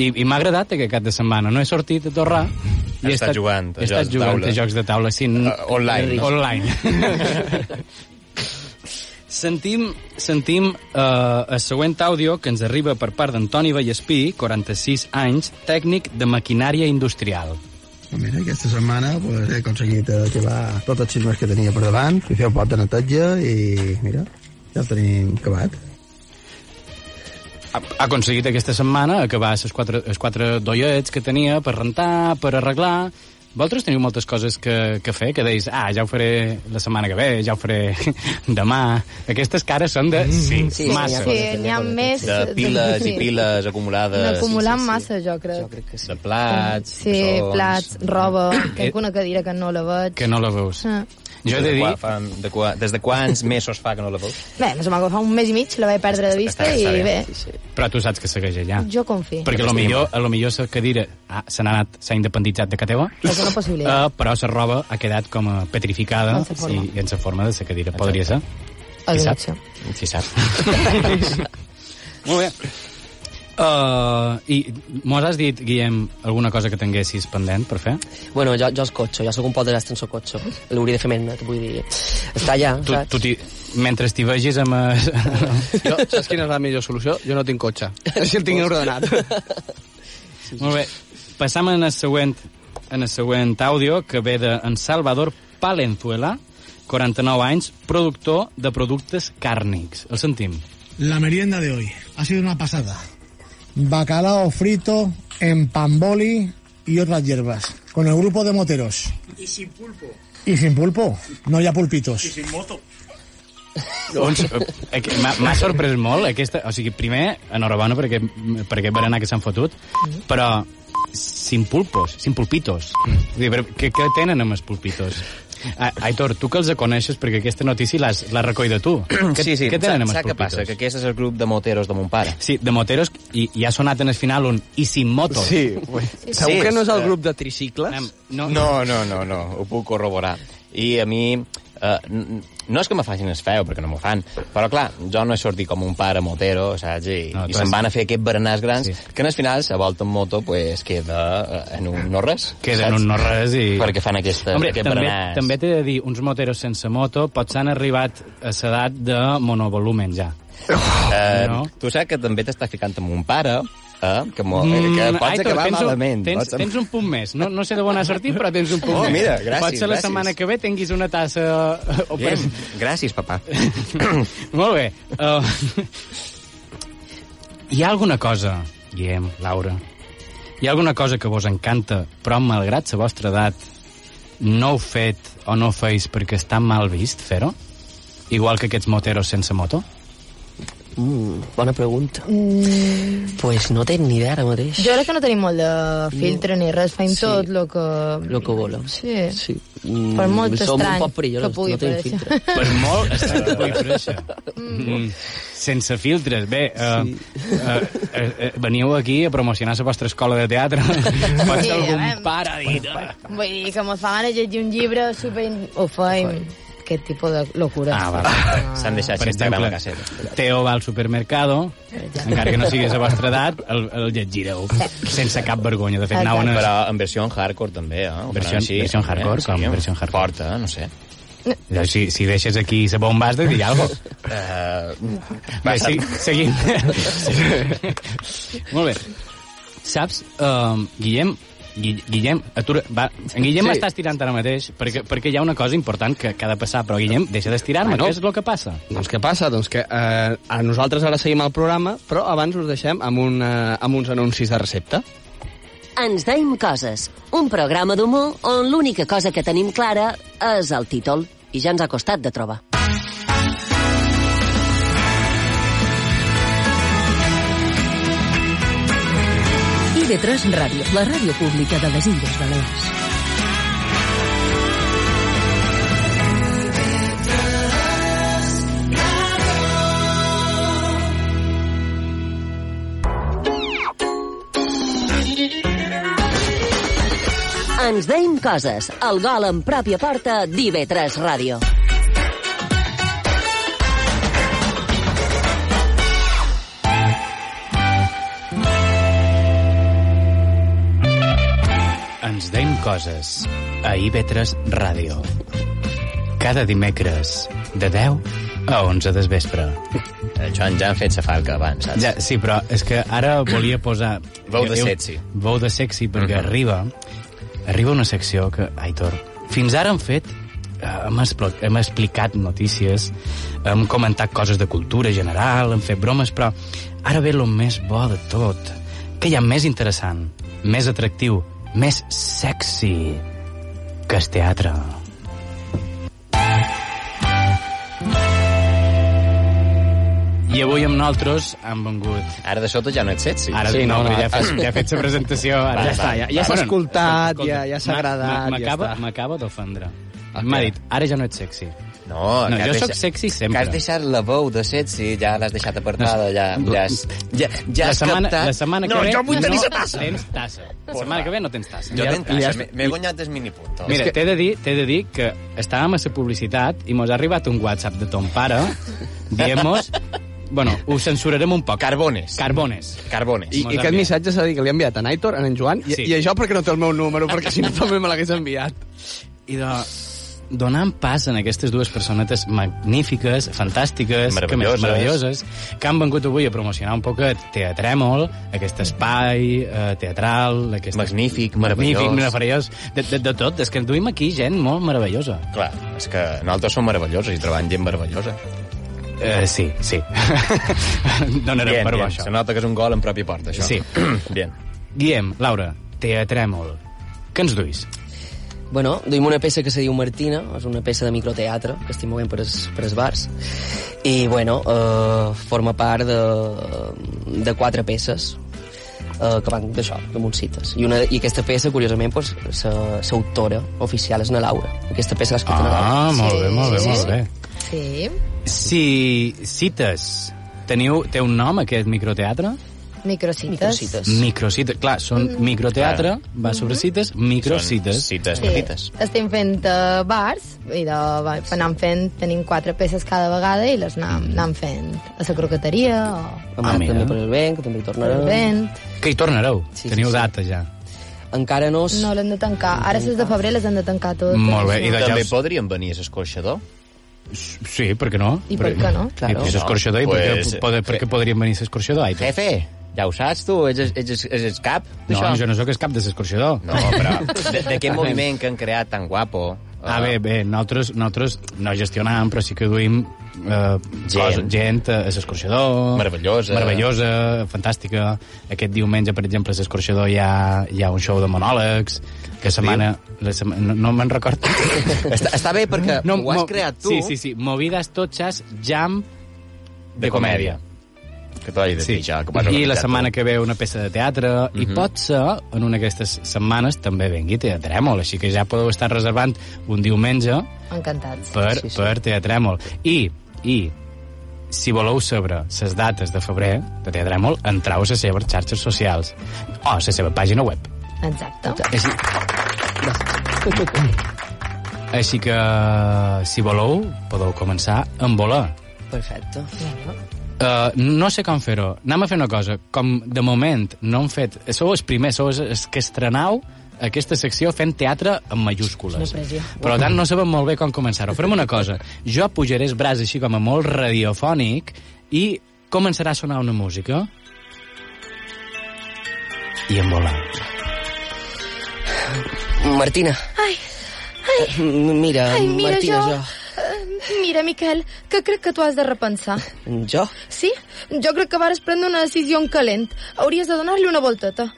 B: I, i m'ha agradat aquest cap de setmana. No he sortit a Torrà i he
H: estat jugant a
B: he estat
H: jocs de
B: jugant
H: taula.
B: a jocs de taula. Sí, n-
H: Uh, online.
B: Online. Sentim, sentim eh, el següent àudio que ens arriba per part d'Antoni Vallespí, 46 anys, tècnic de maquinària industrial.
I: Doncs Mira, aquesta setmana pues, he aconseguit acabar tots els cismes que tenia per davant, i fer un pot de neteja i, mira, ja el tenim acabat.
B: ha ha aconseguit aquesta setmana acabar les quatre, les quatre doiets que tenia per rentar, per arreglar... Vosaltres teniu moltes coses que, que fer, que deis, ah, ja ho faré la setmana que ve, ja ho faré demà... Aquestes cares són de... Sí,
A: sí,
B: sí massa.
F: Mm. Sí,
A: coses que
F: n'hi ha
A: tenia
F: més...
C: De piles i
F: sí.
C: piles acumulades.
F: N'acumulant massa, jo crec.
A: Jo crec que sí.
C: De plats,
F: Sí,
C: bessons,
F: plats, roba...
B: Eh.
F: Tenc una cadira que no la veig.
B: Que no la veus.
F: Ah.
B: Jo he de
C: Quan
B: dir...
C: fa, de qua, des de quants mesos fa que no la veus?
F: Bé, no se m'ha agafat un mes i mig, la vaig perdre de vista
C: Està bé,
F: i
C: està
F: bé,
C: bé.
B: Però tu saps que segueix allà.
F: jo confio.
B: Perquè a lo millor, a lo millor sa cadira ah, se n'ha anat, s'ha independitzat de casa teva,
F: És una possibilitat.
B: eh, però sa roba ha quedat com a petrificada
F: En sa forma.
B: i, i en sa forma de sa cadira. Podria ser?
F: Alguna
B: sap?
F: opció.
B: Si sap. Molt bé. Uh, I mos has dit, Guillem, alguna cosa que tinguessis pendent per fer?
A: Bueno, jo, jo els cotxo, jo sóc un pot de destre en el cotxo. L'hauria de fer més net, vull dir... Està allà,
B: Tu,
A: saps?
B: tu t'hi- mentre t'hi vegis amb... eh,
D: Jo, saps quina és la millor solució? Jo no tinc cotxe. Si el tinc ordenat.
B: Molt bé. Passam en el següent, en el següent àudio, que ve de en Salvador Palenzuela, 49 anys, productor de productes càrnics. El sentim.
I: La merienda de hoy ha sido una pasada. Bacalao frito en pamboli y otras hierbas. Con el grupo de moteros. Y sin pulpo. Y sin pulpo. No ya pulpitos.
B: Doncs, eh, eh, m'ha- M'ha sorprès molt aquesta... O sigui, primer, enhorabona perquè, per aquest berenar que s'han fotut, però sin pulpos, sin pulpitos. Vull dir, però Què, què tenen amb els pulpitos? A- Aitor, tu que els coneixes, perquè aquesta notícia l'has l'has recollida tu. Què,
C: sí, sí.
B: Què tenen amb els
C: Saps què
B: pulpitos?
C: passa? Que aquest és el grup de moteros de mon pare.
B: Sí, de moteros, i, i ha sonat en el final un i sin motos.
D: Sí, bueno. Segur
C: Sí,
D: que no és el
C: eh,
D: grup de tricicles?
B: Anem, No, no.
C: No, no, no, no, ho puc corroborar. I a mi eh, eh, n- no és que me facin es feu, perquè no m'ho fan, però clar, jo no he sortit com un pare motero, saps? I,
H: No,
C: no,
H: tu
C: i
H: has-
C: se'n van a fer aquests berenars grans, sí. que en el final, la volta en moto, pues, queda eh, en un no-res.
B: Queda en
C: saps?
B: un no-res i-
C: Perquè eh, fan aquestes,
B: Hombre,
C: aquests
B: també,
C: berenars.
B: també t'he de dir, uns moteros sense moto potser han arribat a l'edat de monovolumen ja.
C: Eh,
B: No.
C: Tu saps que també t'estàs ficant amb un pare, eh, que, mo,
B: Mm,
C: que pots
B: Aitor,
C: acabar
B: tens un-
C: malament.
B: Tens,
C: pots...
B: tens un punt més. No, no sé d'on ha sortit, però tens un punt
C: Oh,
B: més.
C: mira, gràcies,
B: Potser la
C: gràcies.
B: setmana que ve tinguis una tassa... eh, O
C: Bien, gràcies, papà.
B: Molt bé. Uh, hi ha alguna cosa, Guillem, Laura, hi ha alguna cosa que vos encanta, però malgrat la vostra edat no heu fet o no ho feis perquè està mal vist fer-ho? Igual que aquests moteros sense moto?
A: Mm, bona pregunta.
F: Mm,
A: Pues no tenc ni idea ara mateix.
F: jo crec que no tenim molt de filtre ni res, feim
A: Sí.
F: sí. tot el que...
A: Lo que vola.
F: Sí.
A: Sí. Mm,
F: Per molt
A: Som
F: estrany
A: un poc
F: que
A: perillosos,
F: pugui
A: no tenim
F: parecer.
A: filtre.
B: Per molt estrany que pugui créixer. Mm. Sense filtres. Bé, uh, uh, uh, uh, veniu aquí a promocionar la vostra escola de teatre. Pot ser
F: Sí, a
B: algun
F: veure.
B: pare ha dit... "Ah,
F: Vull dir que mos fa gana llegir un llibre super... Ho feim. Aquest tipus de locura.
B: Ah, va.
C: S'han deixat
B: Per
C: Instagram a
B: exemple,
C: caseta.
B: Teo va al supermercado, encara que no sigués a vostra edat, el, el llegireu sense cap vergonya. De fet,
F: Exacte.
B: anaven
C: Però
B: a...
C: en versió en hardcore també, eh? Ho
B: Versió-
C: fan així,
B: versió en
C: també,
B: hardcore, com?
C: home,
B: Versió en hardcore.
C: Porta, no sé.
B: Allò, Doncs Si, si deixes aquí la bomba, has de dir alguna cosa.
C: Uh,
B: Bé, sí, seguim. Molt bé. Saps, um, Guillem, Gui- Guillem, atura, va. En Guillem
D: Sí.
B: sí. està estirant ara mateix, perquè, perquè hi ha una cosa important que, que ha de passar, però Guillem, deixa d'estirar-me,
D: Bueno.
B: què és el que passa?
D: Doncs què passa? Doncs que eh, a nosaltres ara seguim el programa, però abans us deixem amb, un, eh, amb uns anuncis de recepta.
J: Ens deim coses, un programa d'humor on l'única cosa que tenim clara és el títol, i ja ens ha costat de trobar.
K: IB3 Ràdio, la ràdio pública de les Illes Balears.
J: Ens deim coses, el gol en pròpia porta d'IV3 Ràdio.
B: Ens deim coses a IB3 Ràdio. Cada dimecres, de 10 a 11 del vespre.
C: Joan, Eh, ja han fet sa falca abans, saps?
B: Ja, sí, però és que ara volia posar...
C: Veu de
B: jo-
C: sexy.
B: Veu de sexy, perquè
C: Mhm.
B: arriba, arriba una secció que, Aitor, fins ara hem fet eh, hem, explo- hem explicat notícies, hem comentat coses de cultura general, hem fet bromes, però ara ve el més bo de tot, que hi ha més interessant, més atractiu, més sexy que el teatre. I avui amb nosaltres han vengut
C: Ara de sota ja no et sets, sí?
B: Ara
D: Sí,
B: sí, no,
D: no,
B: no,
D: no.
B: ja, fes, ja he fet la presentació. Ara,
C: Va,
D: ja està, ja, ja s'ha
B: Bueno,
D: escoltat,
B: escolta,
D: ja, ja s'ha
B: m'ha-
D: agradat,
B: m'ha-
D: ja
B: m'acaba-
D: està.
B: M'acaba d'ofendre.
D: Ah,
B: M'ha
D: què?
B: dit, ara ja no ets sexy.
C: No,
B: No,
C: que has
B: jo
C: deixat-
B: sóc sexy
C: Que
B: sempre.
C: has deixat la veu de sexy, ja l'has deixat apartada, ja, ja, has- ja, ja
B: la
C: has
B: setmana,
C: captat...
B: la setmana que
C: no,
B: ve
C: jo vull tenir
B: no
C: la tassa!
B: tens tassa. La setmana que ve no tens tassa.
C: Jo
B: Ja-
C: tenc
B: ja-
C: tassa, m'he- m'he guanyat el minipunto.
B: Mira, t'he de, dir, t'he de dir que estàvem a la publicitat i mos ha arribat un WhatsApp de ton pare dient-nos... Bueno, ho censurarem un poc.
C: Carbones.
B: Carbones.
C: Carbones.
D: I,
B: Mos
D: i
B: ha
D: aquest
B: enviat.
D: missatge s'ha de dir que li ha enviat a Naitor, a en Joan,
B: Sí.
D: i, sí. i a jo perquè no té el meu número, perquè si no també me l'hagués enviat.
B: i de donant pas en aquestes dues personetes magnífiques, fantàstiques, que més,
C: Meravelloses.
B: meravelloses, que han vengut avui a promocionar un poc Teatrèmol, aquest espai eh, teatral, aquest
C: Magnífic,
B: magnífic,
C: meravellós.
B: meravellós, de, de, de tot. És que duim aquí gent molt meravellosa.
C: Clar, és que nosaltres som meravellosos i trobem gent meravellosa.
B: Eh, sí, sí. Donarem
C: Bien,
B: per bo
C: bien.
B: això.
C: Se nota que és un gol en pròpia porta, això.
B: Sí.
C: bien.
B: Guillem, Laura, Teatrèmol, què ens duis?
A: Bueno, duim una peça que se diu Martina, és una peça de microteatre que estic movent per es, per es bars i bueno, eh, forma part de, de quatre peces eh, que van d'això, de Montsites i, una, i aquesta peça, curiosament pues, sa, sa autora oficial és na Laura aquesta peça l'ha escrita na Laura
B: Ah, molt bé, molt bé, molt bé.
F: Sí.
B: Si cites, teniu, té un nom aquest microteatre?
F: Microcites.
A: Microcites.
B: Microcites. Clar, són microteatre, va sobre cites, microcites.
C: cites
F: Estem fent eh, bars i de, va, anant fent, tenim quatre peces cada vegada i les anam, mm. anam fent a la croqueteria o
A: Ah, també per el vent, que també hi
F: al
A: tornarem.
F: vent.
B: Que hi tornareu.
A: Sí, sí,
B: Teniu
A: sí.
B: data ja.
A: Encara no...
F: No l'hem de tancar. Ara les de febrer les hem de tancar totes.
B: Molt bé, i de
C: També
B: ja-
C: podríem venir a l'escorxador?
B: Sí, per què no?
F: I per què no?
B: Claro. I l'escorxador, i per què-
C: Pues- eh,
B: per, per què podríem venir a l'escorxador? Aitor?
C: Jefe, ja ho saps tu, ets, ets, ets, ets el cap
B: No,
C: d'això?
B: jo no sóc el cap de l'escorxador.
C: No, però de- d'aquest moviment que han creat tan guapo...
B: Ah, bé, bé, nosaltres, nosaltres no gestionam, però sí que duim eh, gent. Cosa, gent eh, a l'escorxador...
C: Meravellosa.
B: Meravellosa, fantàstica. Aquest diumenge, per exemple, a l'escorxador hi, ha, hi ha un show de monòlegs, que setmana... La sema, no no me'n record.
C: Està, està bé perquè no, ho has creat tu.
B: Sí, sí, sí. Movides totxes, jam... De, de comèdia.
C: Que t'ho hagi de
B: Sí.
C: pitjar, que ho has
B: I la
C: organitzat
B: setmana
C: tu. Mhm.
B: que ve una peça de teatre, i pot ser, en una d'aquestes setmanes, també vengui Teatrèmol, així que ja podeu estar reservant un diumenge
F: Encantats.
B: per, sí, sí. per Teatrèmol. I, i si voleu saber les dates de febrer de Teatrèmol, entrau a les seves xarxes socials o a la seva pàgina web.
F: Exacte.
B: Així, Eh, així que, si voleu, podeu començar amb volar.
A: Perfecte.
B: Uh, no sé com fer-ho. Anem a fer una cosa. Com de moment no hem fet... Sou els primers, sou els- els que estrenau aquesta secció fent teatre amb majúscules. Per tant, no sabem molt bé com començar-ho. Farem una cosa. Jo pujaré el braç així com a molt radiofònic i començarà a sonar una música. I en volar.
A: Martina.
L: Ai,
A: ai. Mira,
L: Ai, mira,
A: Martina,
L: jo... Eh, Mira, Miquel, que crec que tu has de repensar.
A: jo. Jo?
L: Sí? Jo crec que vares prendre una decisió en calent. Hauries de donar-li una volteta.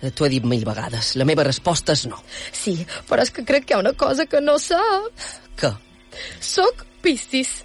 A: Eh, T'ho he dit mil vegades. La meva resposta és no.
L: Sí, però és que crec que hi ha una cosa que no sap.
A: Què?
L: Soc Piscis.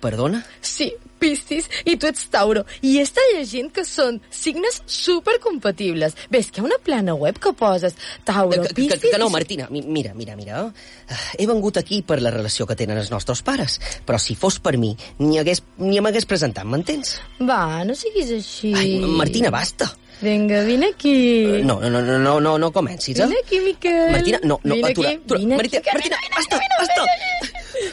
A: Perdona?
L: Sí, Piscis, i tu ets Tauro. I està llegint que són signes supercompatibles. Ves que hi ha una plana web que poses Tauro,
A: Eh, Que, que,
L: Piscis...
A: que no,
L: i-
A: Martina, mi- mira, mira, mira. Eh, He vengut aquí per la relació que tenen els nostres pares, però si fos per mi, ni, hagués, ni m'hagués presentat, m'entens?
L: Va, no siguis així.
A: Ai, Martina, basta.
L: Vinga, vine aquí.
A: No, no, no, no, no, no, no comencis,
L: Vine
A: eh?
L: aquí, Miquel.
A: Martina, no, no,
L: vine
A: atura,
L: aquí,
A: atura.
L: Vine
A: Martina,
L: aquí, que
A: Martina,
L: vine,
A: basta,
L: vine,
A: basta. Oh,
L: vine,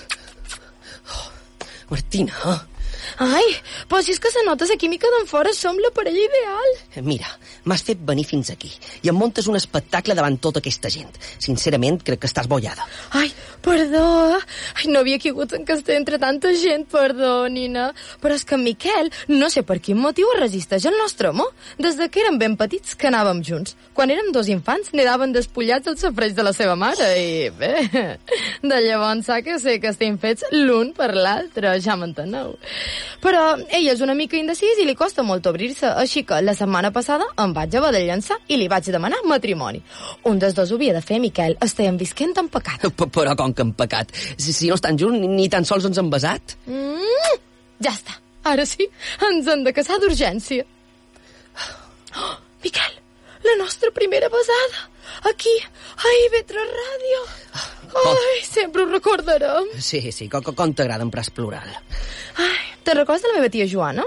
A: Martina, eh?
L: vine. Ai, però pues si és que se nota la química d'en fora, som la parella ideal.
A: eh, mira, m'has fet venir fins aquí i em montes un espectacle davant tota aquesta gent. Sincerament, crec que estàs bollada.
L: Ai, perdó. Ai, no havia caigut en castell entre tanta gent, perdó, Nina. Però és que en Miquel, no sé per quin motiu es resisteix al nostre amor. Des de que érem ben petits que anàvem junts. Quan érem dos infants, nedaven despullats els safreig de la seva mare i, bé, de llavors sap que sé que estem fets l'un per l'altre, ja m'enteneu. Però ell és una mica indecís i li costa molt obrir-se, així que la setmana passada em vaig haver de llançar i li vaig demanar matrimoni. Un dels dos ho havia de fer, Miquel, estàvem visquent en pecat.
A: P però com que hem pecat? Si, si no estan junts, ni, ni tan sols ens hem besat.
L: Mm, ja està. Ara sí, ens hem de casar d'urgència. Oh, Miquel, la nostra primera besada. Aquí, a Ivetra Ràdio. Ai, sempre ho recordarem.
A: Sí, sí, com, com- com t'agrada en pres plural.
L: Ai, te'n recordes de la meva tia Joana?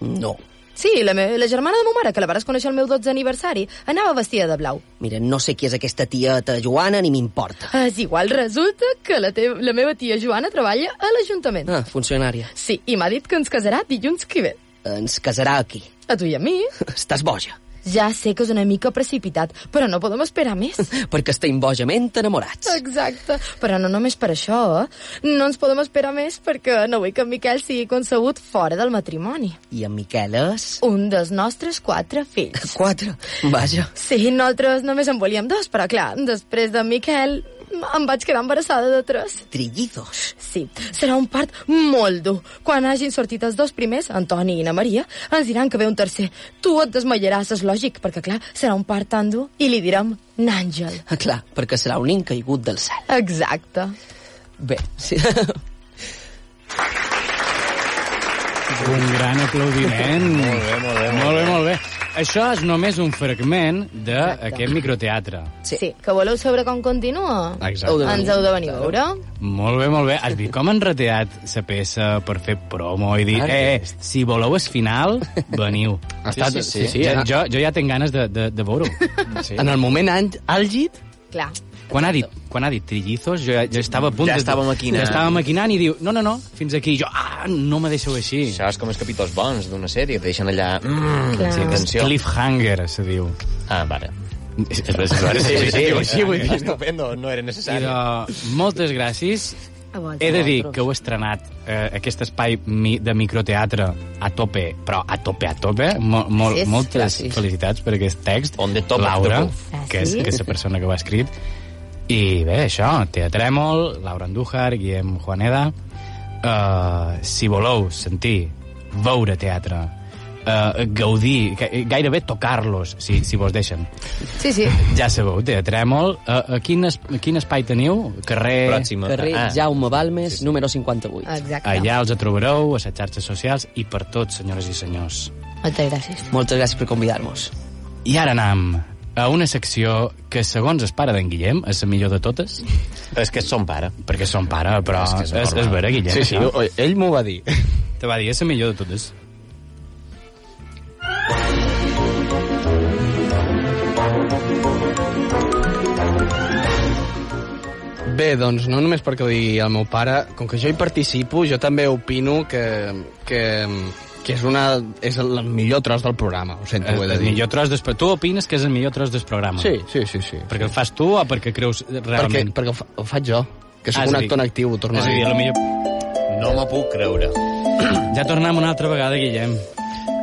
A: No.
L: Sí, la, me la germana de ma mare, que la vares conèixer el meu 12 aniversari, anava vestida de blau.
A: Mira, no sé qui és aquesta tieta Joana ni m'importa.
L: És igual, resulta que la, te la meva tia Joana treballa a l'Ajuntament.
A: Ah, funcionària.
L: Sí, i m'ha dit que ens casarà dilluns que ve.
A: Ens casarà aquí.
L: A tu i a mi.
A: Estàs boja,
L: Ja sé que és una mica precipitat, però no podem esperar més.
A: perquè estem bojament enamorats.
L: Exacte, però no només per això, eh? No ens podem esperar més perquè no vull que en Miquel sigui concebut fora del matrimoni.
A: I en Miquel és...
L: Un dels nostres quatre fills.
A: Quatre? Vaja.
L: Sí, nosaltres només en volíem dos, però clar, després de Miquel em vaig quedar embarassada de tres.
A: Trillizos.
L: Sí, serà un part molt dur. Quan hagin sortit els dos primers, Antoni i na Maria, ens diran que ve un tercer. Tu et desmaiaràs, és lògic, perquè clar, serà un part tan dur i li direm Nàngel.
A: Ah, clar, perquè serà un nin caigut del cel.
L: Exacte.
A: Bé, sí.
B: Un gran aplaudiment.
C: Molt bé, molt bé, molt
B: Molt bé,
C: bé.
B: molt bé. Això és només un fragment d'aquest microteatre.
F: Sí. sí. Que voleu saber com continua?
B: Exacte. Heu de venir.
F: Ens heu de venir a veure.
B: Molt bé, molt bé. Has vist com han reteat la peça per fer promo i dir,
C: Ara
B: eh, eh, si voleu el final, veniu.
D: Ha estat-
B: Sí, sí,
D: sí, sí.
B: Ja, jo, jo ja tinc ganes de, de, de veure-ho. Sí.
D: En el moment àng- àlgid...
F: Clar.
B: Quan ha dit, quan ha dit trillizos, jo, ja- jo estava a punt
C: Ja
B: de-
C: estava maquinant.
B: Ja estava maquinant i diu, no, no, no, fins aquí. Jo, ah, no me deixeu així.
C: Això és com els capítols bons d'una sèrie, et deixen allà... Mm,
B: Clar.
C: sí, atenció.
B: Cliffhanger, se diu.
C: Ah, vale.
B: Sí,
C: sí, sí,
B: diu així, vull dir.
C: Estupendo, no era necessari.
B: Idò, moltes gràcies. He de dir que heu estrenat eh, aquest espai mi, de microteatre a tope, però a tope, a tope. Mol, mol,
C: Gràcies.
B: moltes
C: Gràcies.
B: felicitats per aquest text. On
C: top of
B: Laura,
C: the roof.
B: que és, que és la persona que ho ha escrit. I bé, això, Teatrèmol, Laura Andújar, Guillem Juaneda. Uh, si voleu sentir, veure teatre, uh, gaudir, ga- gairebé tocar-los, si, si vos deixen.
F: Sí, sí.
B: Ja sabeu, Teatrèmol. Uh, a, quin es, a quin espai teniu? Carrer... Pròxima.
A: Carrer ah. Jaume Balmes, número 58.
F: Exacte.
B: Allà els trobareu, a les xarxes socials i per tots, senyores i senyors.
F: Moltes gràcies.
A: Moltes gràcies per convidar-nos.
B: I ara anem a una secció que, segons el pare d'en Guillem, és la millor de totes.
C: És que és son pare.
B: Perquè és son pare, però és,
C: És
B: és,
C: que és
B: és,
C: normal.
B: vera, Guillem.
C: Sí, sí,
B: això.
D: ell m'ho va dir.
B: Te va dir, és la millor de totes.
D: Bé, doncs no només perquè ho digui el meu pare, com que jo hi participo, jo també opino que, que, que és, una, és el millor tros del programa, ho sento,
B: El,
D: ho he de
B: el
D: dir.
B: millor tros des... Tu opines que és el millor tros del programa?
D: Sí, sí, sí. sí.
B: Perquè el fas tu o perquè creus
D: Perquè,
B: realment?
D: perquè ho, fa, ho faig jo, que
B: Ah,
D: sóc
B: és
D: un
B: a dir-
D: actor en actiu, ho torno
B: és
D: a
B: a
D: dir.
B: dir, la millor...
C: No m'ho puc creure.
B: Ja tornem una altra vegada, Guillem.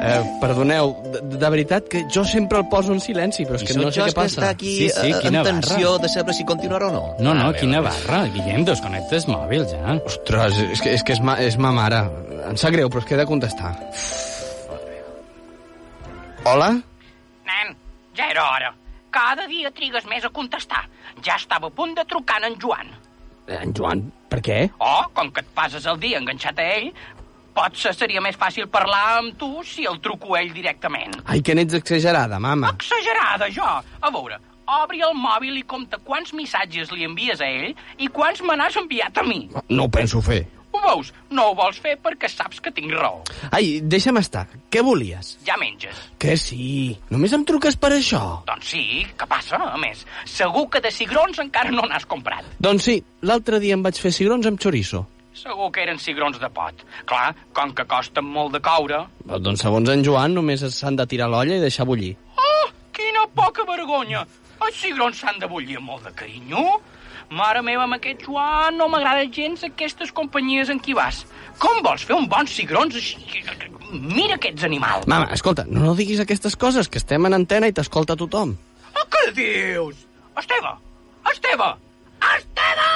D: Eh, perdoneu, de, de veritat que jo sempre el poso en silenci, però és que
C: sóc
D: no sé què
C: jo el que
D: passa.
C: està aquí, Sí, sí, eh, quina amb tensió de saber si continuarà o no.
B: No, no,
D: Ah, bé,
B: quina
D: bé. Eh,
B: barra. Guillem, desconnecta el mòbil, ja.
D: Ostres, és que, és, que és, ma, és ma mare. Em sap greu, però és que he de contestar. Hola?
M: Nen, ja era hora. Cada dia trigues més a contestar. Ja estava a punt de trucar en Joan.
D: En Joan, per què?
M: Oh, com que et passes el dia enganxat a ell, potser seria més fàcil parlar amb tu si el truco a ell directament.
D: Ai, que n'ets exagerada, mama.
M: Exagerada, jo! A veure, obri el mòbil i compta quants missatges li envies a ell i quants me n'has enviat a mi.
D: No ho penso fer.
M: Ho veus? No ho vols fer perquè saps que tinc raó.
D: Ai, deixa'm estar. Què volies?
M: Ja menges.
D: Que sí. Només em truques per això?
M: Doncs sí, què passa? A més, segur que de cigrons encara no n'has comprat.
D: Doncs sí, l'altre dia em vaig fer cigrons amb chorizo.
M: Segur que eren cigrons de pot. Clar, com que costen molt de coure...
D: Però, doncs segons en Joan només s'han de tirar l'olla i deixar bullir.
M: Oh, quina poca vergonya! Els cigrons s'han de bullir amb molt de carinyo. Mare meva, amb aquest Joan no m'agrada gens aquestes companyies en qui vas. Com vols fer un bon cigrons així? Mira aquests animals.
D: Mama, escolta, no, no diguis aquestes coses, que estem en antena i t'escolta tothom.
M: Oh, què dius? Esteve! Esteve! Esteve!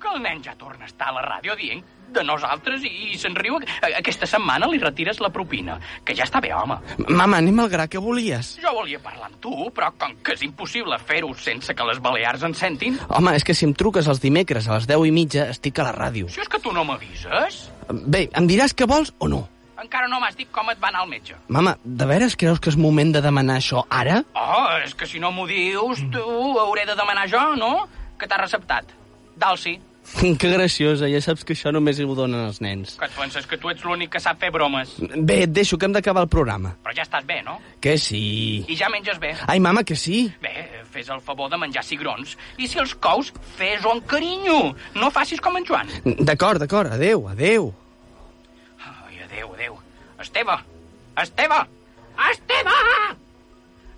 M: Que el nen ja torna a estar a la ràdio dient de nosaltres i, i se'n riu. A- Aquesta setmana li retires la propina, que ja està bé, home.
D: Mama, anem al gra, què volies?
M: Jo volia parlar amb tu, però com que és impossible fer-ho sense que les Balears en sentin,
D: Home, és que si em truques els dimecres a les 10 i mitja estic a la ràdio.
M: si és que tu no m'avises,
D: Bé, em diràs que vols o no?
M: encara no m'has dit com et va anar al metge.
D: Mama, de veres creus que és moment de demanar això ara?
M: Oh, és que si no m'ho dius, tu ho hauré de demanar jo, no? Que t'ha receptat. Dalsi,
D: Que graciosa, ja saps que això només ho donen els nens.
M: que et penses que tu ets l'únic que sap fer bromes.
D: Bé, et deixo que hem d'acabar el programa.
M: Però ja estàs bé, no?
D: Que sí.
M: I ja menges bé.
D: Ai, mama, que sí.
M: Bé, fes el favor de menjar cigrons. I si els cous, fes-ho amb carinyo. No facis com en Joan.
D: D'acord, d'acord, adeu, adeu.
M: Ai, adéu, adéu. Esteve! Esteve! Esteve!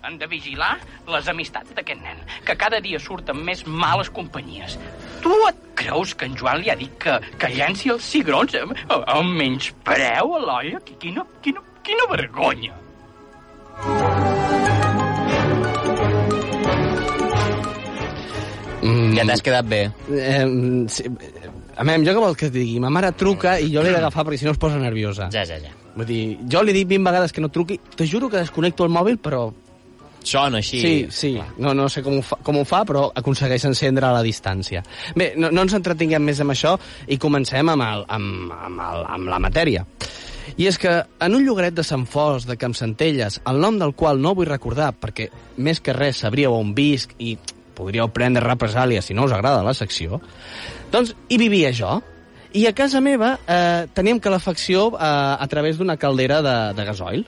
M: Hem de vigilar les amistats d'aquest nen, que cada dia surten més males companyies. Tu et creus que en Joan li ha dit que, que llenci els cigrons amb, amb menys preu a l'olla? Qui- Quina, quina, quina vergonya!
D: Mm.
C: Ja t'has quedat bé.
D: Eh, sí, eh, a mi, jo què vols que et digui? Ma mare truca i jo l'he d'agafar perquè si no es posa nerviosa.
C: Ja, ja, ja.
D: Vull dir, jo li he dit 20 vegades que no truqui, te juro que desconnecto el mòbil, però...
C: Sona així.
D: Sí, sí. No, no sé com ho, fa, com ho fa, però aconsegueix encendre a la distància. Bé, no, no ens entretinguem més amb això i comencem amb, el, amb, amb, el, amb la matèria. I és que en un llogaret de Sant Fos, de Campsentelles, el nom del qual no vull recordar perquè més que res sabríeu on visc i podríeu prendre represàlia si no us agrada la secció, doncs hi vivia jo. I a casa meva eh, teníem calefacció eh, a través d'una caldera de, de gasoil.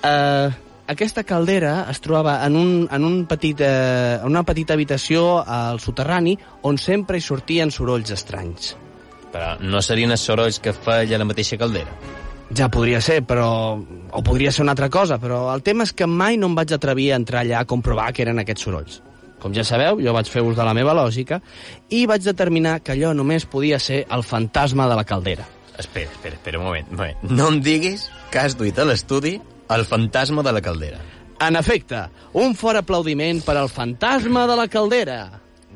D: Eh, aquesta caldera es trobava en, un, en, un petit, eh, en una petita habitació al soterrani on sempre hi sortien sorolls estranys.
C: Però no serien els sorolls que feia la mateixa caldera.
D: Ja podria ser, però... o podria ser una altra cosa, però el tema és que mai no em vaig atrevir a entrar allà a comprovar que eren aquests sorolls. Com ja sabeu, jo vaig fer ús de la meva lògica i vaig determinar que allò només podia ser el fantasma de la caldera.
C: Espera, espera, espera, un moment, un moment. No em diguis que has duit a l'estudi el fantasma de la caldera.
D: En efecte, un fort aplaudiment per al fantasma de la caldera.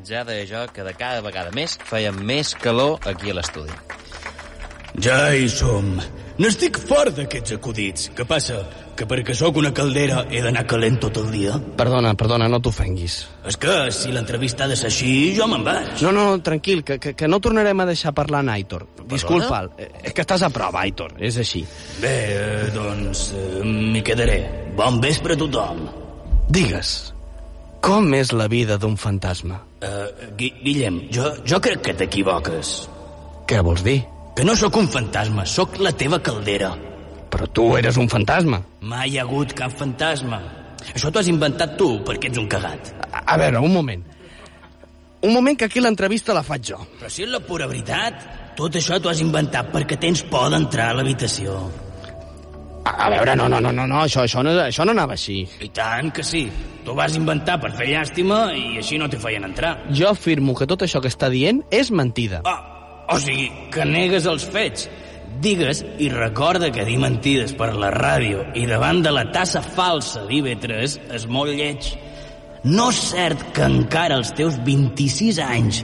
C: Ja deia jo que de cada vegada més feia més calor aquí a l'estudi.
B: Ja hi som. N'estic fort d'aquests acudits. Què passa? Que perquè sóc una caldera he d'anar calent tot el dia?
D: Perdona, perdona, no t'ofenguis.
B: És que si l'entrevista ha de ser així, jo me'n vaig.
D: No, no, tranquil, que, que, que no tornarem a deixar parlar en Aitor. Disculpa'l, eh, és que estàs a prova, Aitor, és així.
B: Bé, eh, doncs eh, m'hi quedaré. Bon vespre a tothom.
D: Digues, com és la vida d'un fantasma?
B: Eh, Gui Guillem, jo, jo crec que t'equivoques.
D: Què vols dir?
B: Que no sóc un fantasma, sóc la teva caldera.
D: Però tu eres un fantasma.
B: Mai hi ha hagut cap fantasma. Això t'ho has inventat tu, perquè ets un cagat.
D: A, a veure, un moment. Un moment que aquí l'entrevista la faig jo.
B: Però si és la pura veritat, tot això t'ho has inventat perquè tens por d'entrar a l'habitació.
D: A, a veure, no, no, no, no, no, això, això no, això no anava així.
B: I tant que sí. T'ho vas inventar per fer llàstima i així no te feien entrar.
D: Jo afirmo que tot això que està dient és mentida.
B: Ah, o sigui, que negues els fets. Digues i recorda que dir mentides per la ràdio i davant de la tassa falsa d'IB3 és molt lleig. No és cert que encara als teus 26 anys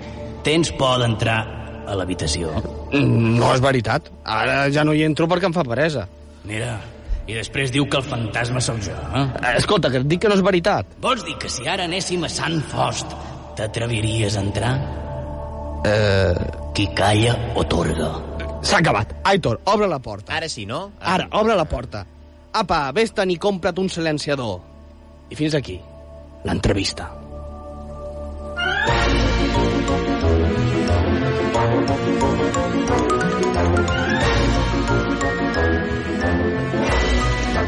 B: tens por d'entrar a l'habitació.
D: Mm, No és veritat. Ara ja no hi entro perquè em fa peresa.
B: Mira, i després diu que el fantasma sóc jo, eh?
D: Escolta, que et dic que no és veritat.
B: Vols dir que si ara anéssim a Sant Fost t'atreviries a entrar?
D: Eh...
B: Qui calla, otorga.
D: S'ha acabat. Aitor, obre la porta.
C: Ara sí, no? Ah.
D: Ara, obre la porta. Apa, vés-te'n i compra't un silenciador. I fins aquí, l'entrevista.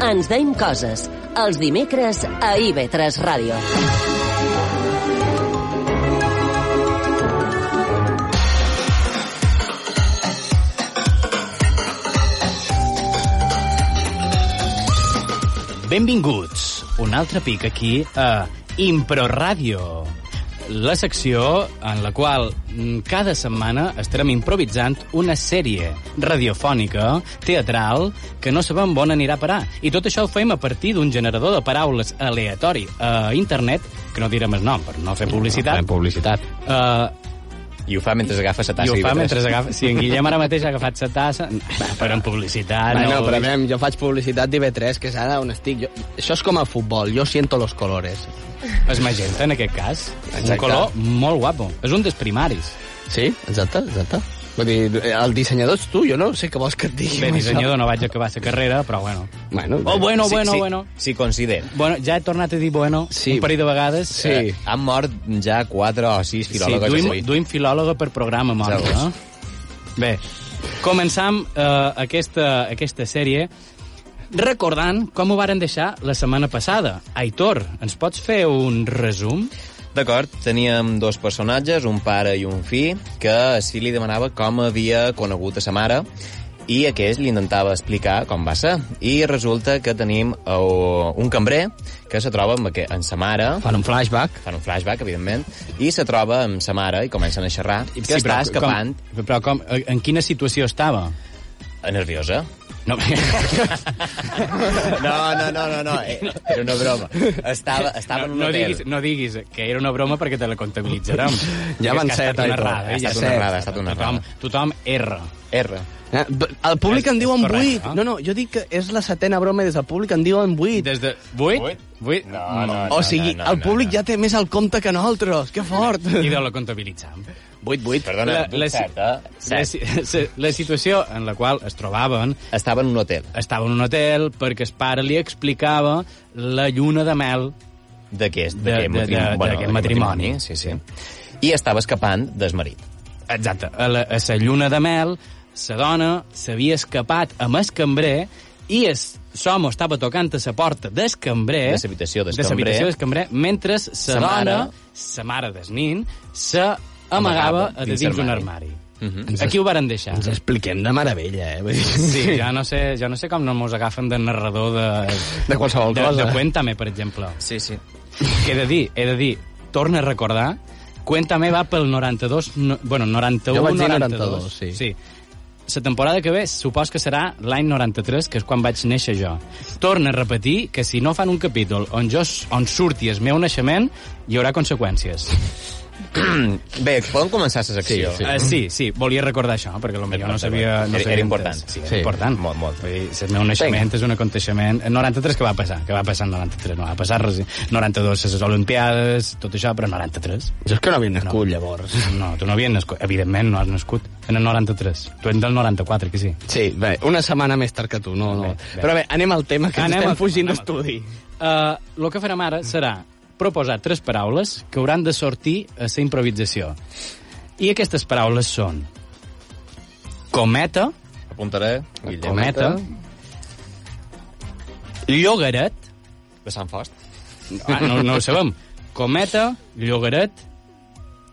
A: Ens deim coses, els dimecres a IB3 Ràdio.
N: Benvinguts, un altre pic aquí a Improràdio, la secció en la qual mm, cada setmana estarem improvisant una sèrie radiofònica, teatral, que no sabem on anirà a parar. I tot això ho fem a partir d'un generador de paraules aleatori a internet, que no direm el nom per no fer publicitat.
O: Fem publicitat.
N: Uh,
O: I ho fa mentre agafa sa tassa.
N: I ho fa
O: IB3.
N: mentre agafa... Si en Guillem ara mateix ha agafat sa tassa... Va, Però en
B: Ah,
N: publicitat...
D: Bueno,
N: no,
D: però anem, jo faig publicitat d'IV3, que és ara on estic. Jo, això és com el futbol, jo siento los colores.
N: És magenta, en aquest cas. Exacte.
D: Exacte.
N: Un color molt guapo. És un dels primaris.
D: Sí, exacte, exacte. Vull dir, el dissenyador ets tu, jo no sé què vols que et digui.
N: Bé, dissenyador, no vaig acabar la carrera, però bueno.
D: Bueno,
N: Oh, bueno,
C: Sí,
N: bueno,
C: sí,
N: bueno.
C: Sí, considera.
N: Bueno, ja he tornat a dir bueno sí. un parell de vegades.
C: Eh, han mort ja quatre o sis
N: sí,
C: filòlegs.
N: duim, duim filòloga per programa, mort,
C: Ja
N: no?
C: veus.
N: Bé, començam eh, aquesta, aquesta sèrie recordant com ho varen deixar la setmana passada. Aitor, ens pots fer un resum?
C: D'acord, teníem dos personatges, un pare i un fill, que a si li demanava com havia conegut a sa mare i aquest li intentava explicar com va ser. I resulta que tenim eh, un cambrer que se troba amb, aquest, amb sa mare...
D: Fan un flashback.
C: Fan un flashback, evidentment, i se troba amb sa mare i comencen a xerrar. Que sí, està escapant
N: Com, però com, eh, en quina situació estava?
C: Eh, nerviosa.
N: No,
C: No, no, no, no, no. eh, Era una broma. Estava, estava en
N: no,
C: un
N: no,
C: hotel.
N: diguis, no diguis que era una broma perquè te la comptabilitzarem.
D: Ja
N: van
D: van
N: ser,
D: set,
N: una
D: Aitor,
N: errada.
D: ha
N: eh, ja
D: estat
N: està.
D: una
C: errada, ha estat una
N: tothom, Tothom erra.
C: R.
D: Eh, El públic en diu en
N: correcte,
D: 8. No, no, jo dic que és la setena broma i des del públic en diu en 8.
N: Des de 8? 8? No,
D: o sigui, el públic ja té més al compte que nosaltres. Que fort!
N: I de la comptabilitzam.
C: 8-8. Perdona,
B: La-
C: la,
B: la-
C: cert, eh?
B: la,
C: Cert.
B: si- la situació en la qual es trobaven...
C: Estava en un hotel.
B: Estava en un hotel perquè el pare li explicava la lluna de mel
C: d'aquest
B: de,
C: d'aquest
B: de, de,
C: matrimoni. Bueno,
B: d'aquest
C: d'aquest
B: matrimoni.
C: matrimoni, sí, sí. I estava escapant del marit.
B: Exacte. A la, a la lluna de mel, la dona s'havia escapat amb el cambrer i el somo estava tocant a la porta del cambrer...
C: De l'habitació del
B: de l'habitació
C: cambrer.
B: del cambrer, mentre la
C: Sa mare-
B: dona, la mare del nin, s'amagava
C: Amagava
B: de
C: dins Mhm.
B: dins, dins d'un
C: l'armari.
B: armari. Aquí ho varen deixar.
D: Ens expliquem de meravella, eh? Vull dir-
B: Sí, ja no sé, ja no sé com no mos agafen de narrador de...
D: De qualsevol
B: de,
D: cosa.
B: De Cuéntame, per exemple.
C: Sí, sí.
B: Que he de dir, he de dir, torna a recordar, Cuéntame va pel 92, no, bueno, 91,
D: Jo vaig dir
B: 92.
D: 92, sí.
B: sí. La temporada que ve supos que serà l'any 93, que és quan vaig néixer jo. Torna a repetir que si no fan un capítol on, jo, s- on surti el meu naixement, hi haurà conseqüències.
C: Bé, podem començar la secció.
B: Sí, sí. Uh, sí, sí, volia recordar això, perquè potser no sabia... No sabia
C: Era- era
B: entès.
C: important.
B: Sí, era
C: Sí.
B: sí. important.
C: Molt, molt.
B: Vull dir, el meu naixement és un aconteixement... El 93 que va passar? Que va passar el 93? No va passar res. 92, les Olimpiades, tot això, però 93.
D: Jo és que no havia nascut, no. llavors.
B: No, tu no havies nascut. Evidentment, no has nascut en el 93. Tu ets del 94, que sí.
D: Sí, bé, una setmana més tard que tu, no, no.
B: bé.
D: Però bé, anem al tema, que anem
B: Anem al-
D: estem fugint
B: anem al-
D: d'estudi.
B: Uh, el que farem ara serà proposar tres paraules que hauran de sortir a la improvisació. I aquestes paraules són cometa,
C: Apuntaré.
B: cometa, llogaret,
C: De Sant Fost.
B: ah, no, no ho sabem, cometa, llogaret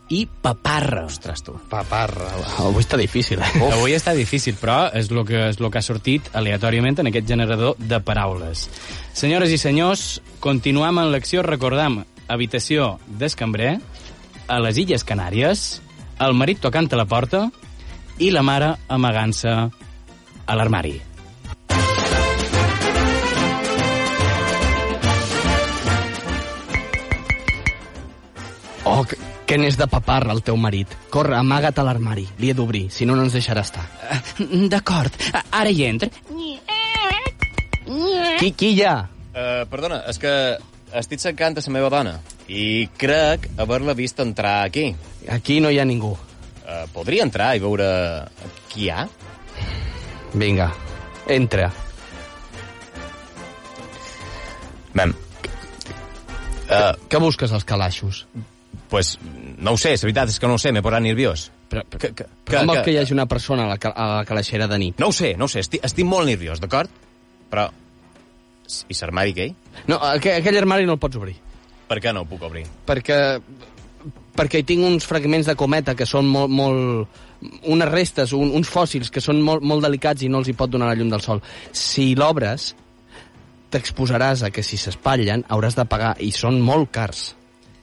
B: i paparra. Ostres, tu.
D: Paparra. Avui està difícil, eh?
B: Uf. Avui està difícil, però és el que, és lo que ha sortit aleatòriament en aquest generador de paraules. Senyores i senyors, continuem en l'acció. Recordam, habitació d'escambrer, a les Illes Canàries, el marit tocant a la porta i la mare amagant-se a l'armari.
D: Oh, que, que n'és de paparra, el teu marit. Corre, amaga't a l'armari. Li he d'obrir, si no, no ens deixarà estar. Eh,
B: D'acord, ara hi entro.
D: Qui, qui hi ha?
C: Uh, perdona, és que estic cercant a la meva dona i crec haver-la vist entrar aquí.
D: Aquí no hi ha ningú.
C: Uh, podria entrar i veure qui hi ha?
D: Vinga, entra.
C: Mem. Uh,
D: Què busques als calaixos?
C: pues, no ho sé, la veritat és que no ho sé, m'he posat nerviós.
D: Però,
C: que,
D: Que,
C: que,
D: Com vols que hi hagi una persona a la, ca- a la calaixera de nit?
C: No ho sé, no ho sé, estic, estic molt nerviós, d'acord? Però... I l'armari gay?
D: No, aquell, aquell armari no el pots obrir.
C: Per què no ho puc obrir?
D: perquè perquè hi tinc uns fragments de cometa que són molt, molt unes restes, un, uns fòssils que són molt, molt delicats i no els hi pot donar la llum del sol. Si l'obres, t'exposaràs a que si s'espatllen hauràs de pagar, i són molt cars.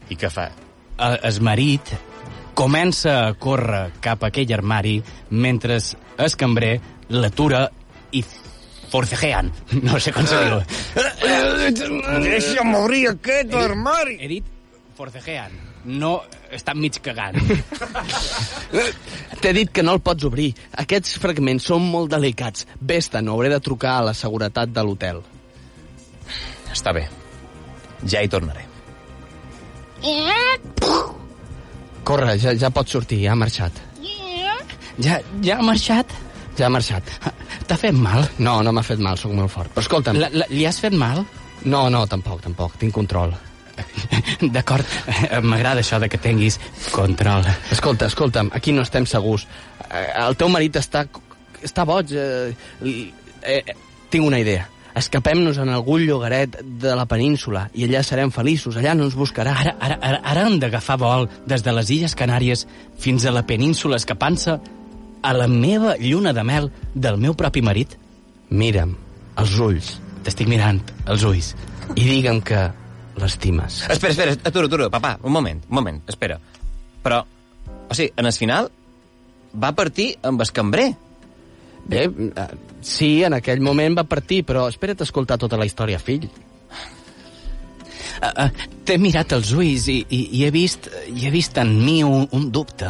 C: I què fa?
B: El, el marit comença a córrer cap a aquell armari mentre el cambrer l'atura i forcejean. No sé com se diu.
P: Deixa'm obrir aquest armari.
B: He dit forcejean. No estan mig cagant.
D: T'he dit que no el pots obrir. Aquests fragments són molt delicats. Vés-te'n, hauré de trucar a la seguretat de l'hotel.
C: Està bé. Ja hi tornaré.
D: Corre, ja, ja pots sortir, ja ha marxat.
B: Ja, ja ha marxat?
D: Ja ha marxat.
B: T'ha fet mal?
D: No, no m'ha fet mal, sóc molt fort. Però escolta'm...
B: La, la, li has fet mal?
D: No, no, tampoc, tampoc. Tinc control.
B: D'acord, Eh, m'agrada això de que tinguis control.
D: Escolta, escolta'm, aquí no estem segurs. Eh, El teu marit està, està boig. Eh, li- eh, eh, tinc una idea. Escapem-nos en algun llogaret de la península i allà serem feliços, allà no ens buscarà.
B: Ara, ara, ara, ara hem d'agafar vol des de les Illes Canàries fins a la península escapant-se a la meva lluna de mel del meu propi marit?
D: Mira'm els ulls
B: T'estic mirant els ulls.
D: i digue'm que l'estimes.
C: Espera, espera, atura, atura, papà, un moment, un moment, espera. Però, o sigui, en el final va partir amb el cambrer.
D: Bé, eh, sí, en aquell moment va partir, però espera't a escoltar tota la història, fill.
B: eh, Uh, uh, T'he mirat els ulls i, i, i he vist i he vist en mi un, un dubte.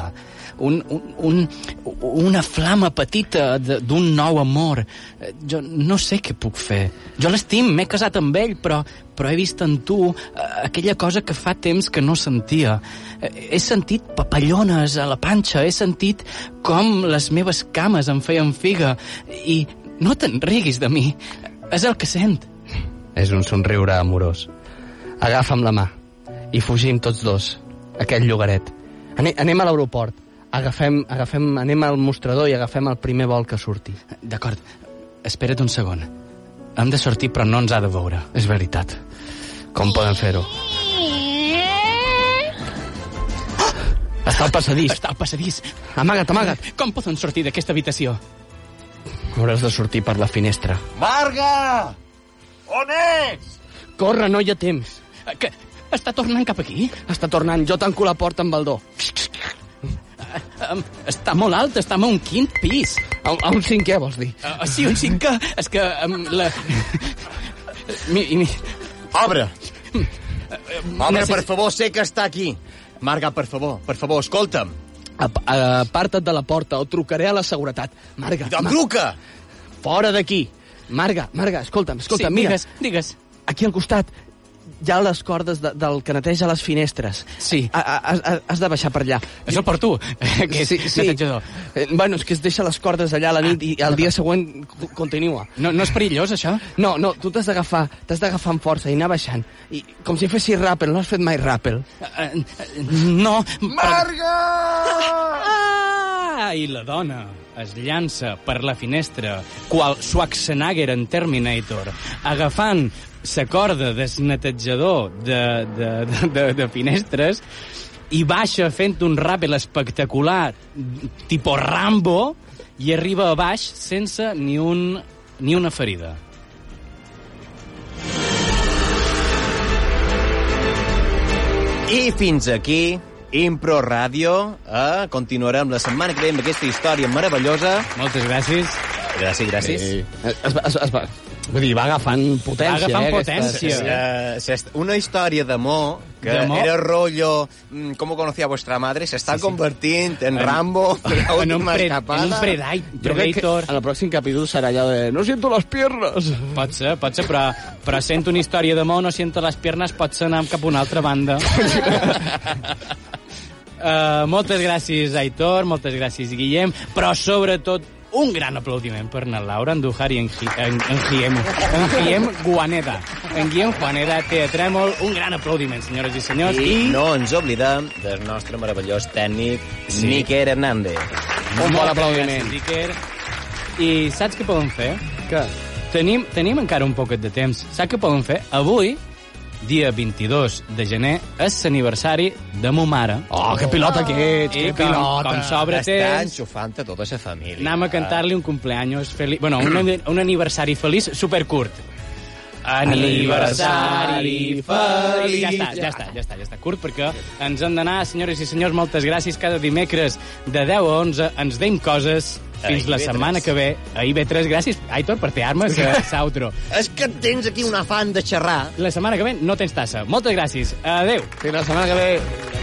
B: un, un, un, una flama petita de- d'un nou amor. Eh, Jo no sé què puc fer. Jo l'estim, m'he casat amb ell, però, però he vist en tu eh, aquella cosa que fa temps que no sentia. Eh, He sentit papallones a la panxa, he sentit com les meves cames em feien figa i no te'n riguis de mi. És el que sent.
D: És un somriure amorós. Agafa'm la mà i fugim tots dos, aquell llogaret. Ane anem a l'aeroport, agafem, agafem, anem al mostrador i agafem el primer vol que surti.
B: D'acord, espera't un segon. Hem de sortir, però no ens ha de veure.
D: És veritat. Com poden fer-ho? Està al passadís.
B: Eh? Està al passadís.
D: Amaga't, amaga't.
B: Com poden sortir d'aquesta habitació?
D: Hauràs de sortir per la finestra.
B: Marga! On és?
D: Corre, no hi ha temps.
B: Que Eh, està tornant cap aquí?
D: Està tornant. Jo tanco la porta amb baldó.
B: Eh, Em- Està molt alt, està a un quint pis.
D: A, a un cinquè, vols dir?
B: Ah, ah, sí, un cinquè. És que... Um, la... mi, mi...
C: Obre! Obre,
B: necessi-
C: per favor, sé que està aquí. Marga, per favor, per favor, escolta'm.
D: Ap- Aparta't de la porta o trucaré a la seguretat. Marga.
C: Doncs truca!
D: Fora d'aquí. Marga, Marga, escolta'm, escolta'm,
B: Sí,
D: mira.
B: digues, digues.
D: Aquí al costat hi ha les cordes de, del que neteja les finestres.
B: Sí.
D: A, a, has- has- has de baixar per allà.
B: És el per tu, que és
D: Sí, sí.
B: netejador.
D: Eh, bueno, és que es deixa les cordes allà a la nit i al dia següent co- continua.
B: Ah. No, no és perillós, això?
D: No, no, tu t'has d'agafar, t'has d'agafar amb força i anar baixant. I, com si fessis rappel, no has fet mai rappel.
B: Eh, eh, No. Marga! Ah! I la dona es llança per la finestra, qual Schwarzenegger en Terminator, agafant sa corda desnetejador de, de, de, de, de finestres i baixa fent un ràpel espectacular, tipo Rambo, i arriba a baix sense ni, un, ni una ferida.
C: I fins aquí, Impro Ràdio. Eh? Continuarem la setmana que ve amb aquesta història meravellosa. Eh,
B: Moltes gràcies.
C: Gràcies, gràcies. Sí.
D: Eh, Es, va- es, va- es va, vull dir, va agafant potència.
B: Va agafant
D: eh, aquesta-
B: potència.
D: sí, sí.
C: Eh, s'est- una història d'amor que
B: D'amor?
C: era rollo mm, ¿Cómo conocía vuestra madre? s'està sí, sí. convertint en, Rambo la
B: en un
C: última
B: pre-
C: escapada.
B: en un predai-
D: Jo crec que
B: Predator.
D: en el pròxim capítol serà allò de... No siento les piernas.
B: Pot ser, pot ser, però, però sento una història d'amor, no sento les piernes, pot ser anar cap a una altra banda. uh, moltes gràcies, Aitor, moltes gràcies, Guillem, però sobretot un gran aplaudiment per na Laura Andujar i en, Gi- en, en Guillem, en Guillem Guaneda. En Guillem Juaneda, Teatrèmol, un gran aplaudiment, senyores i senyors.
C: I
B: I,
C: no ens oblidem del nostre meravellós tècnic
B: Sí.
C: sí. Níker Hernández.
B: un
D: bon aplaudiment.
B: I saps què podem fer?
D: Què?
B: Tenim, tenim encara un poquet de temps. Saps què podem fer? Avui, dia 22 de gener, és l'aniversari de mo mare.
D: Oh, que pilota aquest,
B: I
D: que
B: com,
D: pilota.
B: com s'obre
C: Està
B: temps,
C: enxufant a tota la família.
B: anem a cantar-li un cumpleaños feliç... Bueno, un, ani- un aniversari feliç supercurt. Aniversari feliç. Ja està, ja està, ja està, ja està curt, perquè ens han d'anar, senyores i senyors, moltes gràcies. Cada dimecres de 10 a 11 ens deim coses. Fins
C: A
B: la
C: IB3.
B: setmana que ve. A IB3, gràcies, Aitor, per fer armes, que s'autro.
C: És que tens aquí un afant de xerrar.
B: La setmana que ve no tens tassa. Moltes gràcies. Adéu.
D: Fins la setmana que ve.